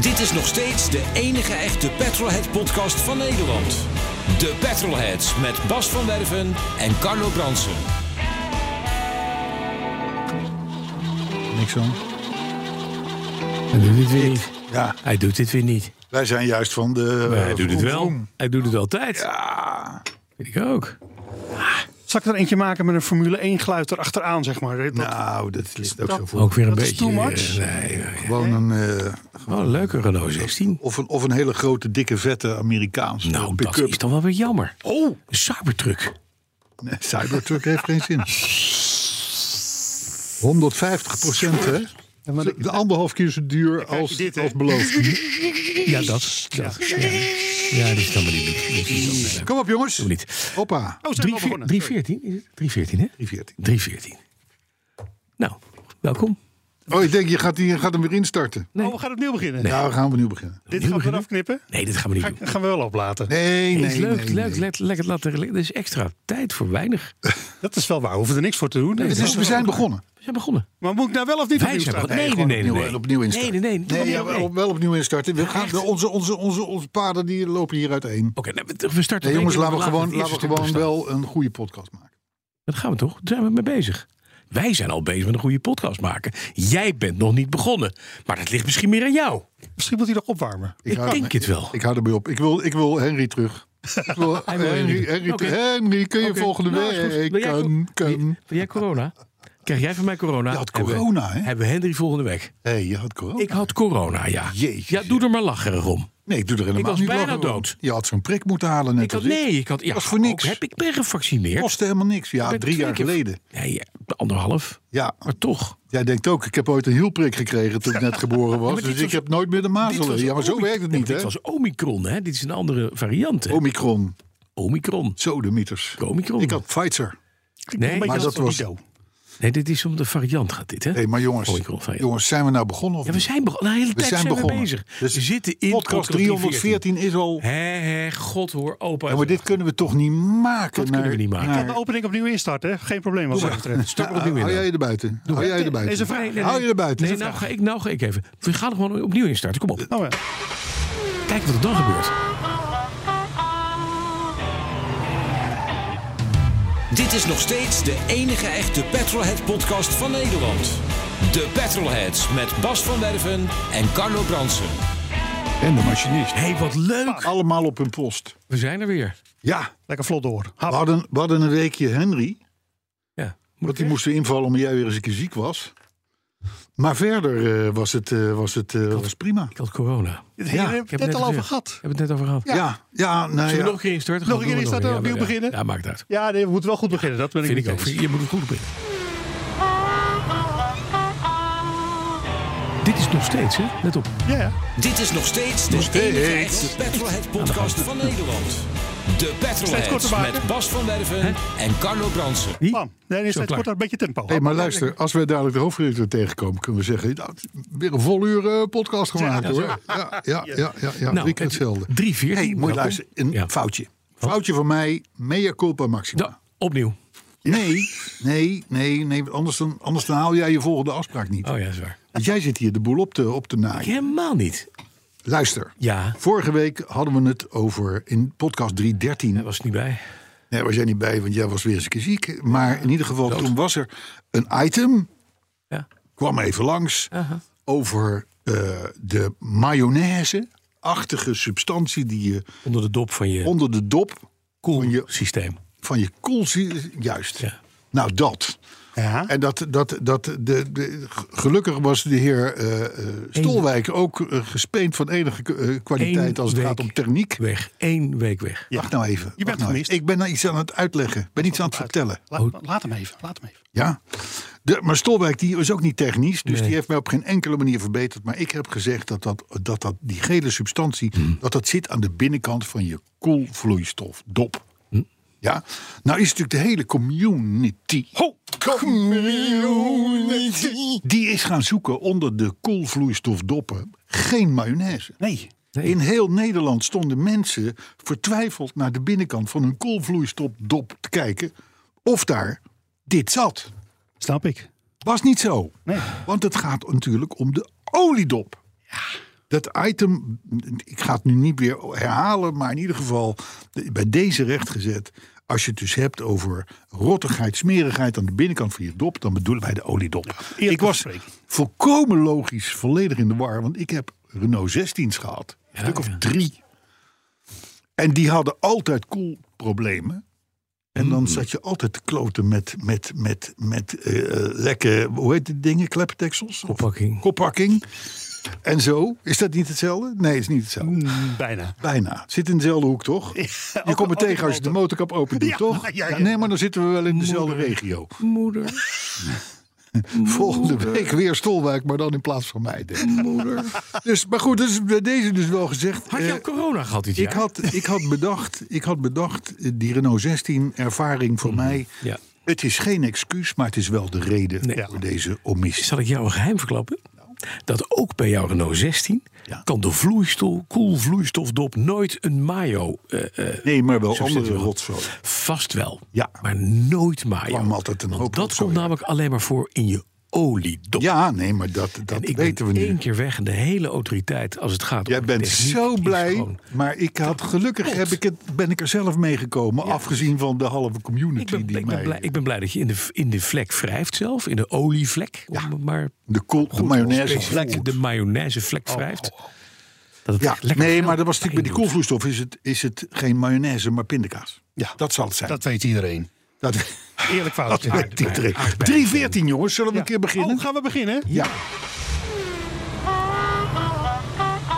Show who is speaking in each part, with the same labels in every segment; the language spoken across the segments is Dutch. Speaker 1: Dit is nog steeds de enige echte Petrolhead-podcast van Nederland. De Petrolheads met Bas van Werven en Carlo Bransen.
Speaker 2: Niks aan.
Speaker 3: Hij doet dit weer niet.
Speaker 2: Ja,
Speaker 3: Hij doet dit weer niet.
Speaker 2: wij zijn juist van de. eh,
Speaker 3: hij doet het wel. Hij doet het altijd.
Speaker 2: Ja.
Speaker 3: Weet ik ook.
Speaker 4: Zal ik er eentje maken met een Formule 1 geluid erachteraan, zeg maar? Dat, Oh,
Speaker 2: Nou, dat ligt ook zo voor.
Speaker 3: Ook weer een
Speaker 4: Dat is
Speaker 3: beetje.
Speaker 4: too much.
Speaker 3: eh, nee, eh,
Speaker 2: Gewoon een, eh,
Speaker 3: gewoon een leuke Renault 16.
Speaker 2: of, een, of een hele grote, dikke, vette Amerikaanse
Speaker 3: Nou, dat
Speaker 2: pick-up.
Speaker 3: is dan wel weer jammer. Oh, een Cybertruck.
Speaker 2: Nee, Cybertruck heeft geen zin. 150 procent, hè? De anderhalf keer zo duur als,
Speaker 4: dit, hè?
Speaker 2: als beloofd.
Speaker 3: Ja, dat. dat ja. ja, dat is dan maar niet. Dat is dan
Speaker 2: Kom op, jongens.
Speaker 3: maar niet.
Speaker 2: Hoppa.
Speaker 4: Oh, zijn we al begonnen?
Speaker 3: 314 is het? 314, hè?
Speaker 2: 314.
Speaker 3: 314. Nou, welkom.
Speaker 2: Oh, ik denk, je gaat, die- je gaat hem weer instarten.
Speaker 4: Oh, we gaan opnieuw beginnen.
Speaker 2: Nou, we gaan opnieuw beginnen.
Speaker 4: Dit
Speaker 3: Opnieuw
Speaker 4: gaan we
Speaker 3: beginnen?
Speaker 4: eraf knippen.
Speaker 3: Nee, dit gaan we niet
Speaker 4: Ga,
Speaker 3: doen.
Speaker 4: gaan we wel oplaten.
Speaker 2: Nee, nee,
Speaker 3: Het is leuk,
Speaker 2: nee,
Speaker 3: leuk,
Speaker 2: nee.
Speaker 3: let- lekker laten liggen. Er is extra tijd voor weinig.
Speaker 4: Dat is wel waar. We hoeven er niks voor te doen.
Speaker 2: Het is, Dus we zijn begonnen.
Speaker 3: We zijn begonnen.
Speaker 4: Maar moet ik nou wel of niet
Speaker 3: Wij
Speaker 4: opnieuw
Speaker 3: zijn
Speaker 4: starten?
Speaker 3: begonnen. Nee, nee, nee. nee,
Speaker 2: Opnieuw,
Speaker 3: nee.
Speaker 2: opnieuw
Speaker 3: Nee,
Speaker 2: instarten.
Speaker 3: nee, nee. niet
Speaker 2: Nee, ja,
Speaker 3: opnieuw, nee.
Speaker 2: wel, wel opnieuw instarten. We gaan, onze, onze, onze, onze paden die lopen hier uiteen.
Speaker 3: Oké, nou, we- we starten.
Speaker 2: Nee, jongens,
Speaker 3: meteen,
Speaker 2: laten we
Speaker 3: het
Speaker 2: gewoon,
Speaker 3: eerste
Speaker 2: laten we
Speaker 3: stuk
Speaker 2: gewoon wel
Speaker 3: opstarten.
Speaker 2: een goede podcast maken.
Speaker 3: Dat gaan we toch? Daar zijn we mee bezig. Wij zijn al bezig met een goede podcast maken. Jij bent nog niet begonnen. Maar dat ligt misschien meer aan jou.
Speaker 4: Misschien moet hij nog opwarmen.
Speaker 3: Ik,
Speaker 2: hou
Speaker 3: denk
Speaker 2: ermee-
Speaker 3: het wel.
Speaker 2: Ik hou erbij op. Ik wil, ik wil Henry terug. Ik wil
Speaker 3: wil Henry
Speaker 2: Henry,
Speaker 3: terug.
Speaker 2: Henry,
Speaker 3: Oké.
Speaker 2: terug. Henry, kun je
Speaker 3: Oké.
Speaker 2: volgende
Speaker 3: Nou, is goed.
Speaker 2: week?
Speaker 3: Wil jij
Speaker 2: Kan,
Speaker 3: co-
Speaker 2: kan.
Speaker 3: Wil wil jij corona? Krijg jij van mij corona?
Speaker 2: Je had
Speaker 3: Hebben-
Speaker 2: corona, hè?
Speaker 3: Hebben we Henry volgende week?
Speaker 2: Hé, je had corona.
Speaker 3: Ik had corona, ja.
Speaker 2: Jeetje.
Speaker 3: Ja, doe er maar lacherig om.
Speaker 2: nee, ik doe er helemaal
Speaker 3: was
Speaker 2: niet
Speaker 3: bijna
Speaker 2: lachen om.
Speaker 3: dood.
Speaker 2: Je had zo'n prik moeten halen net
Speaker 3: Ik had,
Speaker 2: als ik.
Speaker 3: nee, ik had... Ja,
Speaker 2: Was voor
Speaker 3: ook
Speaker 2: niks.
Speaker 3: Heb, ik ben gevaccineerd.
Speaker 2: Kostte helemaal niks. Ja,
Speaker 3: Ik ben
Speaker 2: drie
Speaker 3: twee
Speaker 2: jaar
Speaker 3: keer-
Speaker 2: geleden.
Speaker 3: Nee, ja, anderhalf.
Speaker 2: Ja,
Speaker 3: Maar toch.
Speaker 2: jij denkt ook, ik heb ooit een hielprik gekregen toen ik net geboren was.
Speaker 3: dit
Speaker 2: dus ik
Speaker 3: was-
Speaker 2: heb nooit meer de
Speaker 3: Dit was
Speaker 2: mazelen. Ja, maar zo
Speaker 3: Omi-
Speaker 2: werkt het
Speaker 3: Nee,
Speaker 2: niet,
Speaker 3: maar
Speaker 2: hè?
Speaker 3: Dit was Omicron, hè? Dit is een andere variant, hè?
Speaker 2: Omicron,
Speaker 3: Omicron.
Speaker 2: sodemieters.
Speaker 3: Omicron.
Speaker 2: Ik had Pfizer.
Speaker 3: nee,
Speaker 4: Een beetje
Speaker 2: maar
Speaker 4: als
Speaker 2: dat
Speaker 4: van
Speaker 2: was-
Speaker 4: Guido.
Speaker 3: nee, dit is om de variant gaat dit, hè?
Speaker 2: Hé, maar jongens,
Speaker 3: Omicron, ja.
Speaker 2: jongens, zijn we nou begonnen of
Speaker 3: Ja, we
Speaker 2: niet?
Speaker 3: zijn begonnen. De hele tijd zijn, we bezig.
Speaker 2: Dus
Speaker 3: we zitten in
Speaker 2: podcast 314 is al...
Speaker 3: Hé, hé, god hoor, opa.
Speaker 2: Ja, maar dit kunnen we toch niet maken?
Speaker 3: Dat kunnen we niet maken.
Speaker 4: Ik kan de opening opnieuw instarten. hè? Geen probleem wat mij betreft.
Speaker 3: Start maar
Speaker 2: Hou
Speaker 3: opnieuw in.
Speaker 2: hou jij je
Speaker 3: dan.
Speaker 2: erbuiten? Hou jij je erbuiten?
Speaker 4: Is een vraag.
Speaker 3: nee,
Speaker 2: Hou je erbuiten?
Speaker 3: Nee,
Speaker 2: Is
Speaker 3: nou
Speaker 2: een
Speaker 3: ga, ik, nou ga ik even. We gaan er gewoon opnieuw in starten. Kom op.
Speaker 4: Oh, ja.
Speaker 3: Kijk wat er dan gebeurt.
Speaker 1: Dit is nog steeds de enige echte Petrolhead-podcast van Nederland. De Petrolheads met Bas van Werven en Carlo Bransen.
Speaker 2: En de machinist.
Speaker 3: Hé, wat leuk.
Speaker 2: Allemaal op hun post.
Speaker 3: We zijn er weer.
Speaker 2: Ja,
Speaker 4: Lekker vlot door.
Speaker 2: we
Speaker 4: Hap.
Speaker 2: hadden, we hadden een weekje Henry.
Speaker 3: Ja.
Speaker 2: Want die moesten invallen omdat jij weer eens een keer ziek was. Maar verder eh, was het, eh, was het eh, was prima.
Speaker 3: Ik had corona.
Speaker 4: Hier
Speaker 2: ja,
Speaker 4: hebben
Speaker 3: ik
Speaker 4: we
Speaker 3: heb
Speaker 4: het net
Speaker 3: net
Speaker 4: al over
Speaker 3: gezegd.
Speaker 4: gehad.
Speaker 3: Hebben we het net over gehad.
Speaker 2: Ja, ja, nou
Speaker 3: Zullen we
Speaker 2: ja.
Speaker 3: nog een keer instarten?
Speaker 4: Nog
Speaker 3: Gaan
Speaker 4: een
Speaker 3: we
Speaker 4: keer
Speaker 3: doen we
Speaker 4: instarten,
Speaker 3: nog een keer.
Speaker 4: opnieuw
Speaker 3: Ja,
Speaker 4: beginnen?
Speaker 3: Ja, maakt uit.
Speaker 4: Ja, nee, we moeten wel goed beginnen. Dat ben ik
Speaker 3: Vind ik
Speaker 4: niet
Speaker 3: ook.
Speaker 4: eens.
Speaker 3: Je moet het goed beginnen. Dit is nog steeds, hè? Let op.
Speaker 4: Ja, ja.
Speaker 1: Dit is nog steeds de
Speaker 2: steeds.
Speaker 1: enige echte Petrolhead-podcast van Nederland. De
Speaker 4: kort
Speaker 1: Petrolheads
Speaker 4: te maken.
Speaker 1: met Bas van Werven en Carlo Bransen.
Speaker 3: Wie?
Speaker 4: Bam. Nee, is
Speaker 3: Zo
Speaker 4: het
Speaker 3: klaar.
Speaker 4: wordt een beetje tempo.
Speaker 2: Hé, maar luister, als we dadelijk de hoofdredacteur tegenkomen, kunnen we zeggen: nou, weer een vol uur eh, podcast gemaakt hoor. Ja, ja, ja, ja, ja,
Speaker 3: Nou,
Speaker 2: drie keer hetzelfde.
Speaker 3: 314.
Speaker 2: Hé, moet je
Speaker 3: welkom.
Speaker 2: luisteren, een
Speaker 3: Ja.
Speaker 2: foutje. Foutje van mij, mea culpa maxima.
Speaker 3: Da- opnieuw.
Speaker 2: Nee, nee, nee, nee, want anders dan, anders dan haal jij je volgende afspraak niet.
Speaker 3: Oh ja, dat is waar.
Speaker 2: Want jij zit hier de boel op te, op te naaien.
Speaker 3: Helemaal niet.
Speaker 2: Luister,
Speaker 3: Ja.
Speaker 2: vorige week hadden we het over in podcast
Speaker 3: Daar
Speaker 2: 313.
Speaker 3: was ik niet bij.
Speaker 2: Nee, was jij niet bij, want jij was weer eens een keer ziek. Maar in ieder geval, toen was er een item,
Speaker 3: Ja. Uh-huh.
Speaker 2: kwam even langs, over eh, de mayonaise-achtige substantie die je
Speaker 3: Onder de dop van je
Speaker 2: onder de dop van je
Speaker 3: systeem.
Speaker 2: van je koolzuur. Juist.
Speaker 3: Ja.
Speaker 2: Nou, dat.
Speaker 4: Ja.
Speaker 2: En dat, dat, dat de, de- gelukkig was de heer eh, eh, Stolwijk ook eh, gespeend van enige eh, kwaliteit
Speaker 3: Eén
Speaker 2: als het
Speaker 3: week
Speaker 2: gaat om techniek.
Speaker 3: Weg. Eén week weg.
Speaker 2: Wacht nou even. wacht
Speaker 4: bent
Speaker 2: nou
Speaker 4: gemist.
Speaker 2: even. Ik ben nou iets aan het uitleggen. Ik ben iets aan het vertellen.
Speaker 4: La-
Speaker 3: Oh.
Speaker 4: Laat hem even, laat hem even.
Speaker 2: Ja. De, maar Stolwijk die is ook niet technisch, dus
Speaker 3: Nee.
Speaker 2: die heeft mij op geen enkele manier verbeterd. Maar ik heb gezegd dat, dat, dat, dat die gele substantie dat dat zit aan de binnenkant van je koelvloeistof, dop. Ja? Nou is natuurlijk de hele community. community. Die is gaan zoeken onder de koelvloeistofdoppen geen mayonaise.
Speaker 4: Nee.
Speaker 2: In heel Nederland stonden mensen vertwijfeld naar de binnenkant van hun koolvloeistopdop te kijken of daar dit zat.
Speaker 4: Snap ik.
Speaker 2: Was niet zo.
Speaker 4: Nee.
Speaker 2: Want het gaat natuurlijk om de oliedop. Dat item, ik ga het nu niet weer herhalen, maar in ieder geval de- bij deze rechtgezet. Als je het dus hebt over rottigheid, smerigheid aan de binnenkant van je dop, dan bedoelen wij de oliedop. ik was
Speaker 4: bespreking.
Speaker 2: volkomen logisch volledig in de war, want ik heb Renault 16's gehad. Een stuk of drie. En die hadden altijd koelproblemen. En
Speaker 4: Hmm.
Speaker 2: dan zat je altijd te kloten met, met, met, met eh, lekke, hoe heet die dingen? Kleppendeksels? Of
Speaker 3: Kopakking.
Speaker 2: Koppakking. En zo. Is dat niet hetzelfde? Nee, is niet hetzelfde.
Speaker 3: Hmm.
Speaker 4: Bijna.
Speaker 2: Bijna. Zit in dezelfde hoek, toch? je
Speaker 4: ook-
Speaker 2: komt me
Speaker 4: ook
Speaker 2: tegen
Speaker 4: in
Speaker 2: als je de
Speaker 4: Malta.
Speaker 2: motorkap open doet,
Speaker 4: Ja,
Speaker 2: toch?
Speaker 4: ja, ja.
Speaker 2: nee, maar dan zitten we wel in dezelfde regio.
Speaker 3: Moeder.
Speaker 2: Volgende week weer Stolwijk, maar dan in plaats van mij. denk ik. Dus, maar goed, dus bij deze dus wel gezegd.
Speaker 3: Had je
Speaker 2: eh,
Speaker 3: al corona gehad dit
Speaker 2: ik,
Speaker 3: jaar?
Speaker 2: had, ik had bedacht, ik had bedacht eh, die Renault 16 ervaring voor mij.
Speaker 3: Mhm. Ja.
Speaker 2: Het is geen excuus, maar het is wel de reden
Speaker 3: Nee.
Speaker 2: voor deze omissie.
Speaker 3: Zal ik jou een geheim verklappen? Dat ook bij jouw Renault 16
Speaker 2: Ja.
Speaker 3: kan de vloeistof, koelvloeistofdop nooit een mayo. eh, eh,
Speaker 2: Nee, maar wel
Speaker 3: Zo
Speaker 2: andere
Speaker 3: zit het wel.
Speaker 2: rotzooi.
Speaker 3: vast wel,
Speaker 2: Ja.
Speaker 3: maar nooit mayo.
Speaker 2: Kwam altijd een
Speaker 3: Want
Speaker 2: hoop
Speaker 3: dat
Speaker 2: rotzooi
Speaker 3: komt
Speaker 2: uit.
Speaker 3: namelijk alleen maar voor in je oliedop.
Speaker 2: Ja, nee, maar dat, dat
Speaker 3: en ik
Speaker 2: weten we
Speaker 3: ben
Speaker 2: nu.
Speaker 3: één keer weg en de hele autoriteit als het gaat om
Speaker 2: Jij bent
Speaker 3: techniek
Speaker 2: zo
Speaker 3: is
Speaker 2: blij,
Speaker 3: gewoon-
Speaker 2: maar ik had gelukkig heb ik het, ben ik er zelf meegekomen, afgezien van de halve community
Speaker 3: Ik ben,
Speaker 2: die
Speaker 3: ik, ben
Speaker 2: mij eh?
Speaker 3: blij, ik ben blij dat je in de, in de vlek wrijft zelf, in de olievlek. om het maar
Speaker 2: de, kool, de mayonaise
Speaker 3: specifiek
Speaker 2: voelt. Oh.
Speaker 3: de mayonaisevlek wrijft. Dat het
Speaker 2: Ja,
Speaker 3: lekker
Speaker 2: nee,
Speaker 3: veel
Speaker 2: maar dat was natuurlijk bij die
Speaker 3: pijn doet.
Speaker 2: koelvloeistof is het, is het geen mayonaise, maar pindakaas.
Speaker 4: Ja.
Speaker 2: Dat zal het zijn.
Speaker 4: Dat weet iedereen.
Speaker 2: Dat,
Speaker 4: Eerlijk fout. Oh,
Speaker 2: dat weet iedereen. 314 jongens, zullen we een keer
Speaker 3: Oh,
Speaker 2: beginnen?
Speaker 4: gaan we beginnen?
Speaker 2: Ja.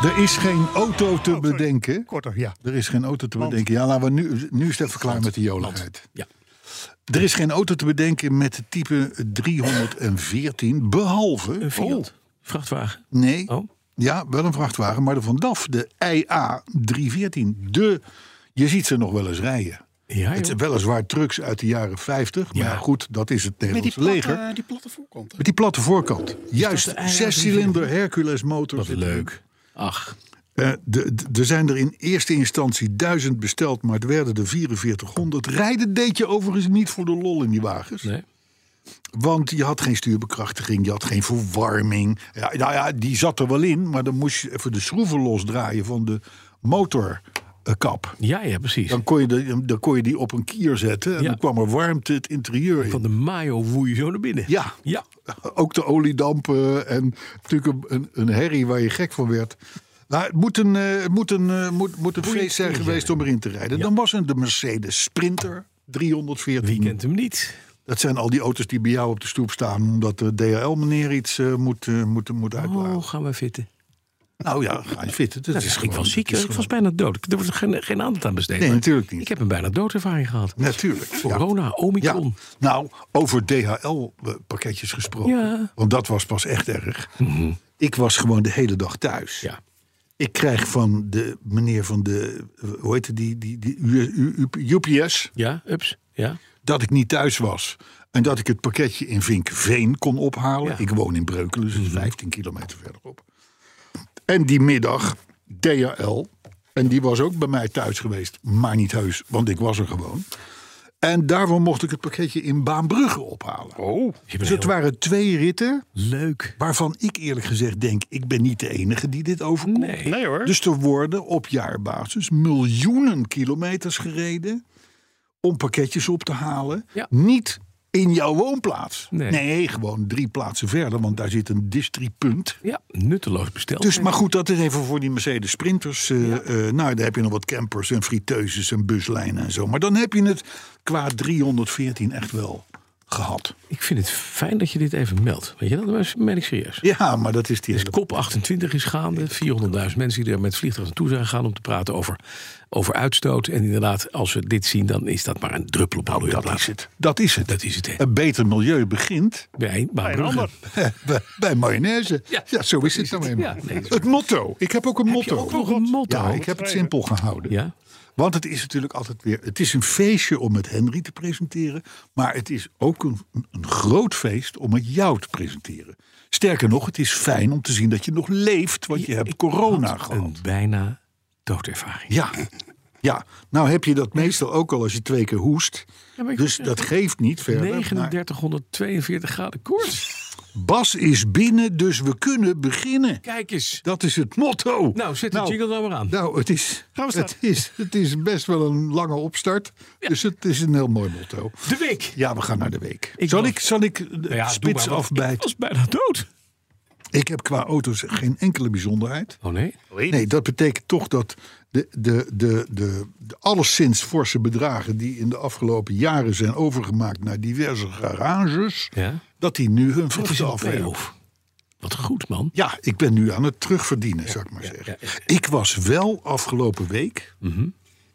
Speaker 2: Er is geen auto
Speaker 3: Oh,
Speaker 2: te
Speaker 4: sorry.
Speaker 2: bedenken.
Speaker 4: Korter, ja.
Speaker 2: Er is geen auto te bedenken. Ja, laten we nu, nu is het even klaar met de joligheid.
Speaker 3: Ja.
Speaker 2: Er is geen auto te bedenken met het type 314, behalve...
Speaker 3: Een Fiat.
Speaker 2: Oh.
Speaker 3: Vrachtwagen.
Speaker 2: Nee.
Speaker 3: Oh.
Speaker 2: Ja, wel een vrachtwagen, maar de Van DAF, de IA 314. De, je ziet ze nog wel eens rijden.
Speaker 3: Ja,
Speaker 2: het
Speaker 3: joh.
Speaker 2: zijn weliswaar trucks uit de jaren 50, maar
Speaker 3: Ja.
Speaker 2: goed, dat is het
Speaker 4: Met die
Speaker 2: Nederlandse leger.
Speaker 4: platte, die platte voorkant.
Speaker 2: Met die platte voorkant. Juist,
Speaker 3: de IA
Speaker 2: zescilinder Hercules motor.
Speaker 3: Wat
Speaker 2: zit erin.
Speaker 3: leuk. Ach.
Speaker 2: Eh, de- de- Er zijn er in eerste instantie duizend besteld, maar het werden er 4400. Rijden deed je overigens niet voor de lol in die wagens.
Speaker 3: Nee.
Speaker 2: Want je had geen stuurbekrachtiging, je had geen verwarming. Ja, nou ja, die zat er wel in, maar dan moest je even de schroeven losdraaien van de motorkap.
Speaker 3: Ja, ja, precies.
Speaker 2: Dan kon je, de, dan kon je die op een kier zetten en
Speaker 3: Ja.
Speaker 2: dan kwam er warmte het interieur
Speaker 3: Van
Speaker 2: in.
Speaker 3: de mayo woei je zo naar binnen.
Speaker 2: Ja.
Speaker 3: Ja.
Speaker 2: Ook de oliedampen en natuurlijk een, een, een herrie waar je gek van werd. Nou, het moet een, eh, het moet een, eh, moet, moet een feest zijn geweest om erin te rijden. Dan was er de Mercedes Sprinter 314.
Speaker 3: Wie kent hem niet?
Speaker 2: Dat zijn al die auto's die bij jou op de stoep staan... omdat de DHL-meneer iets eh, moet, eh, moet, moet uitladen.
Speaker 3: Oh, gaan we fitten.
Speaker 2: Nou ja, ga je fitten. Dat
Speaker 3: Nou,
Speaker 2: is
Speaker 3: ik
Speaker 2: gewoon,
Speaker 3: was ziek.
Speaker 2: dat is
Speaker 3: Ik was
Speaker 2: gewoon-
Speaker 3: bijna dood. Ik- Er wordt geen, geen aandacht aan besteed.
Speaker 2: Nee,
Speaker 3: maar
Speaker 2: natuurlijk niet.
Speaker 3: Ik heb een bijna doodervaring gehad.
Speaker 2: Natuurlijk. ja.
Speaker 3: Corona,
Speaker 2: Ja,
Speaker 3: omicron.
Speaker 2: nou, over DHL-pakketjes gesproken.
Speaker 3: Ja.
Speaker 2: Want dat was pas echt erg. Ik was gewoon de hele dag thuis.
Speaker 3: Ja.
Speaker 2: Ik krijg van de meneer van de, hoe heette die, die, die U- U- UPS,
Speaker 3: Ja, ups. Ja.
Speaker 2: dat ik niet thuis was. En dat ik het pakketje in Vinkveen kon ophalen.
Speaker 3: Ja.
Speaker 2: Ik woon in Breukelen, dus 15 kilometer verderop. En die middag DHL. En die was ook bij mij thuis geweest, maar niet heus, want ik was er gewoon. En daarvoor mocht ik het pakketje in Baanbrugge ophalen.
Speaker 3: Oh. Je bent
Speaker 2: Dus het
Speaker 3: heel
Speaker 2: waren twee ritten
Speaker 3: leuk.
Speaker 2: waarvan ik eerlijk gezegd denk... ik ben niet de enige die dit overkomt.
Speaker 3: Nee.
Speaker 4: Nee hoor.
Speaker 2: Dus er worden op jaarbasis miljoenen kilometers gereden om pakketjes op te halen.
Speaker 3: Ja.
Speaker 2: Niet in jouw woonplaats.
Speaker 3: Nee.
Speaker 2: gewoon drie plaatsen verder, want daar zit een distripunt.
Speaker 3: Ja, nutteloos besteld.
Speaker 2: Dus, maar goed, dat is even voor die Mercedes Sprinters. eh, eh, nou, daar heb je nog wat campers en friteuses en buslijnen en zo. Maar dan heb je het qua 314 echt wel gehad.
Speaker 3: Ik vind het fijn dat je dit even meldt. Weet je dat? Dat meen ik serieus.
Speaker 2: Ja, maar dat is die
Speaker 3: Dus
Speaker 2: hele-
Speaker 3: kop 28 is gaande. 400.000 mensen die er met vliegtuigen naartoe zijn gegaan om te praten over, over uitstoot. En inderdaad, als we dit zien, dan is dat maar een druppel op de
Speaker 2: Nou, Dat is het. Dat is het.
Speaker 3: Dat is het, hè.
Speaker 2: Een beter milieu begint
Speaker 3: Bij
Speaker 4: Een
Speaker 3: Baanbrugge.
Speaker 4: ander.
Speaker 2: bij, bij mayonaise.
Speaker 3: Ja,
Speaker 2: Ja, zo is het nou eenmaal.
Speaker 3: Ja, nee, dat is
Speaker 2: het motto. Ik heb ook een motto.
Speaker 3: ook nog een motto?
Speaker 2: Ja, ik heb het simpel gehouden.
Speaker 3: Ja?
Speaker 2: Want het is natuurlijk altijd weer. Het is een feestje om het Henry te presenteren. Maar het is ook een, een groot feest om het jou te presenteren. Sterker nog, het is fijn om te zien dat je nog leeft. Want je hebt corona gehad.
Speaker 3: Een bijna doodervaring.
Speaker 2: Ja. ja, nou heb je dat meestal ook al als je twee keer hoest.
Speaker 3: Ja, maar ik-
Speaker 2: dus dat nou- geeft niet verder. maar-
Speaker 3: 3942 graden koorts.
Speaker 2: Bas is binnen, dus we kunnen beginnen.
Speaker 3: Kijk eens.
Speaker 2: Dat is het motto.
Speaker 3: Nou, zet de jingle nou maar aan.
Speaker 2: Nou, het is,
Speaker 4: Gaan we
Speaker 2: het,
Speaker 4: starten.
Speaker 2: is, het is best wel een lange opstart. Dus het is een heel mooi motto.
Speaker 3: De week.
Speaker 2: Ja, we gaan naar de week.
Speaker 3: Ik
Speaker 2: zal,
Speaker 3: was-
Speaker 2: ik, zal ik eh,
Speaker 3: Nou ja, doe
Speaker 2: spits
Speaker 3: maar, want
Speaker 2: afbijten?
Speaker 3: Ik was bijna dood.
Speaker 2: Ik heb qua auto's geen enkele bijzonderheid.
Speaker 3: Oh nee?
Speaker 2: Nee, dat betekent toch dat de, de, de, de, de alleszins forse bedragen... die in de afgelopen jaren zijn overgemaakt naar diverse garages...
Speaker 3: Ja.
Speaker 2: dat die nu hun
Speaker 3: Het is
Speaker 2: vruchten
Speaker 3: een
Speaker 2: afwerpen.
Speaker 3: payoff. Wat goed, man.
Speaker 2: Ja, ik ben nu aan het terugverdienen, zou ik maar zeggen. Ik was wel afgelopen week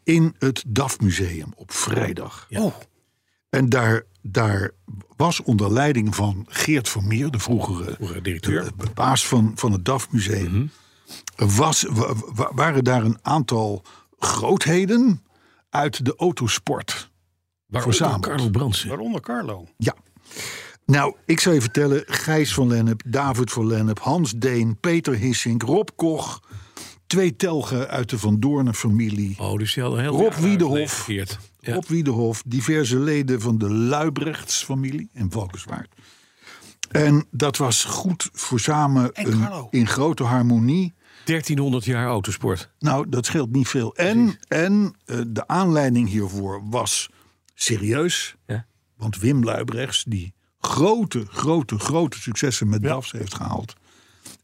Speaker 2: in het DAF Museum op vrijdag.
Speaker 3: Mhm. Oh.
Speaker 2: En daar, daar was onder leiding van Geert Vermeer, de vroegere
Speaker 3: Vroegere directeur. Mhm.
Speaker 2: de- de baas van, van het DAF Museum, was, wa- wa- waren daar een aantal grootheden uit de autosport.
Speaker 3: Waarom
Speaker 2: Verzameld.
Speaker 3: Carlo Brandsen?
Speaker 4: Waaronder Carlo.
Speaker 2: Ja. Nou, ik zou je vertellen, Gijs van Lennep, David van Lennep, Hans Deen, Peter Hissink, Rob Koch, twee telgen uit de Van Doornen-familie,
Speaker 3: Oh, dus je had een heel
Speaker 2: Rob
Speaker 3: jaar
Speaker 2: Wiedehof.
Speaker 3: verkeerd. Ja.
Speaker 2: Rob Wiedehof, diverse leden van de Luibrechtsfamilie in Valkenswaard. En dat was goed voor samen
Speaker 4: En
Speaker 2: een-
Speaker 4: Carlo.
Speaker 2: in grote harmonie.
Speaker 3: 1300 jaar autosport.
Speaker 2: Nou, dat scheelt niet veel. En, en eh, de aanleiding hiervoor was serieus.
Speaker 3: Ja.
Speaker 2: Want Wim Luibrechts, die grote, grote, grote successen met DAFs heeft gehaald.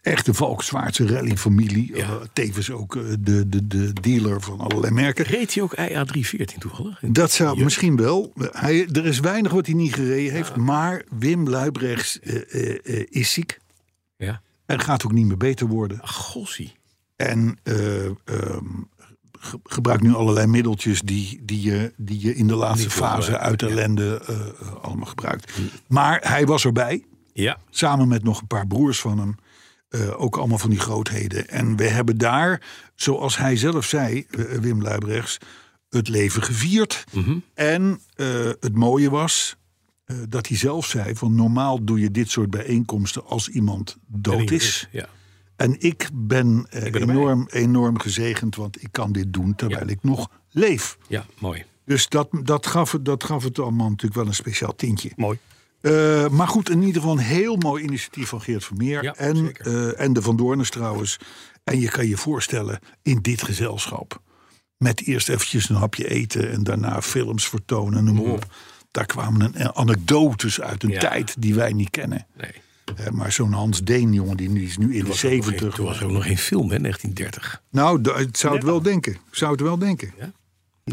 Speaker 2: Echte Valkswaardse rallyfamilie. eh, tevens ook eh, de, de, de dealer van allerlei merken.
Speaker 3: Reed hij ook IA314 toevallig?
Speaker 2: Dat zou misschien wel. eh, Hij, er is weinig wat hij niet gereden heeft. Maar Wim Luibrechts eh, eh, eh, is ziek.
Speaker 3: Ja.
Speaker 2: En gaat ook niet meer beter worden.
Speaker 3: Ach, gossie.
Speaker 2: En eh, ehm, ge- gebruik nu allerlei middeltjes die, die, je, die je in de laatste fase uit ellende eh, eh, allemaal gebruikt. Maar hij was erbij,
Speaker 3: Ja.
Speaker 2: samen met nog een paar broers van hem. eh, ook allemaal van die grootheden. En we hebben daar, zoals hij zelf zei, eh, Wim Luibrechts, het leven gevierd. En eh, het mooie was eh, dat hij zelf zei: van normaal doe je dit soort bijeenkomsten als iemand dood is.
Speaker 3: Ja.
Speaker 2: En ik ben, eh,
Speaker 3: ben erbij.
Speaker 2: enorm, enorm gezegend, want ik kan dit doen terwijl ik nog leef.
Speaker 3: ja, mooi.
Speaker 2: Dus dat, dat, gaf, het- dat gaf het allemaal natuurlijk wel een speciaal tintje.
Speaker 4: Mooi.
Speaker 2: Eh, maar goed, in ieder geval een heel mooi initiatief van Geert Vermeer.
Speaker 3: Ja,
Speaker 2: en,
Speaker 3: zeker.
Speaker 2: eh, en de Van Doornes trouwens. En je kan je voorstellen, in dit gezelschap. Met eerst eventjes een hapje eten en daarna films vertonen en noem maar op. Daar kwamen een, eh, anekdotes uit een
Speaker 3: Mm. Ja.
Speaker 2: tijd die wij niet kennen.
Speaker 3: Nee.
Speaker 2: Eh, maar zo'n Hans Deen, jongen, die nu- is nu in de
Speaker 3: Toen
Speaker 2: 70.
Speaker 3: was er ook nog geen film, hè, 1930.
Speaker 2: Nou, d- ik zou het wel denken. Ik Zou het wel denken. Ik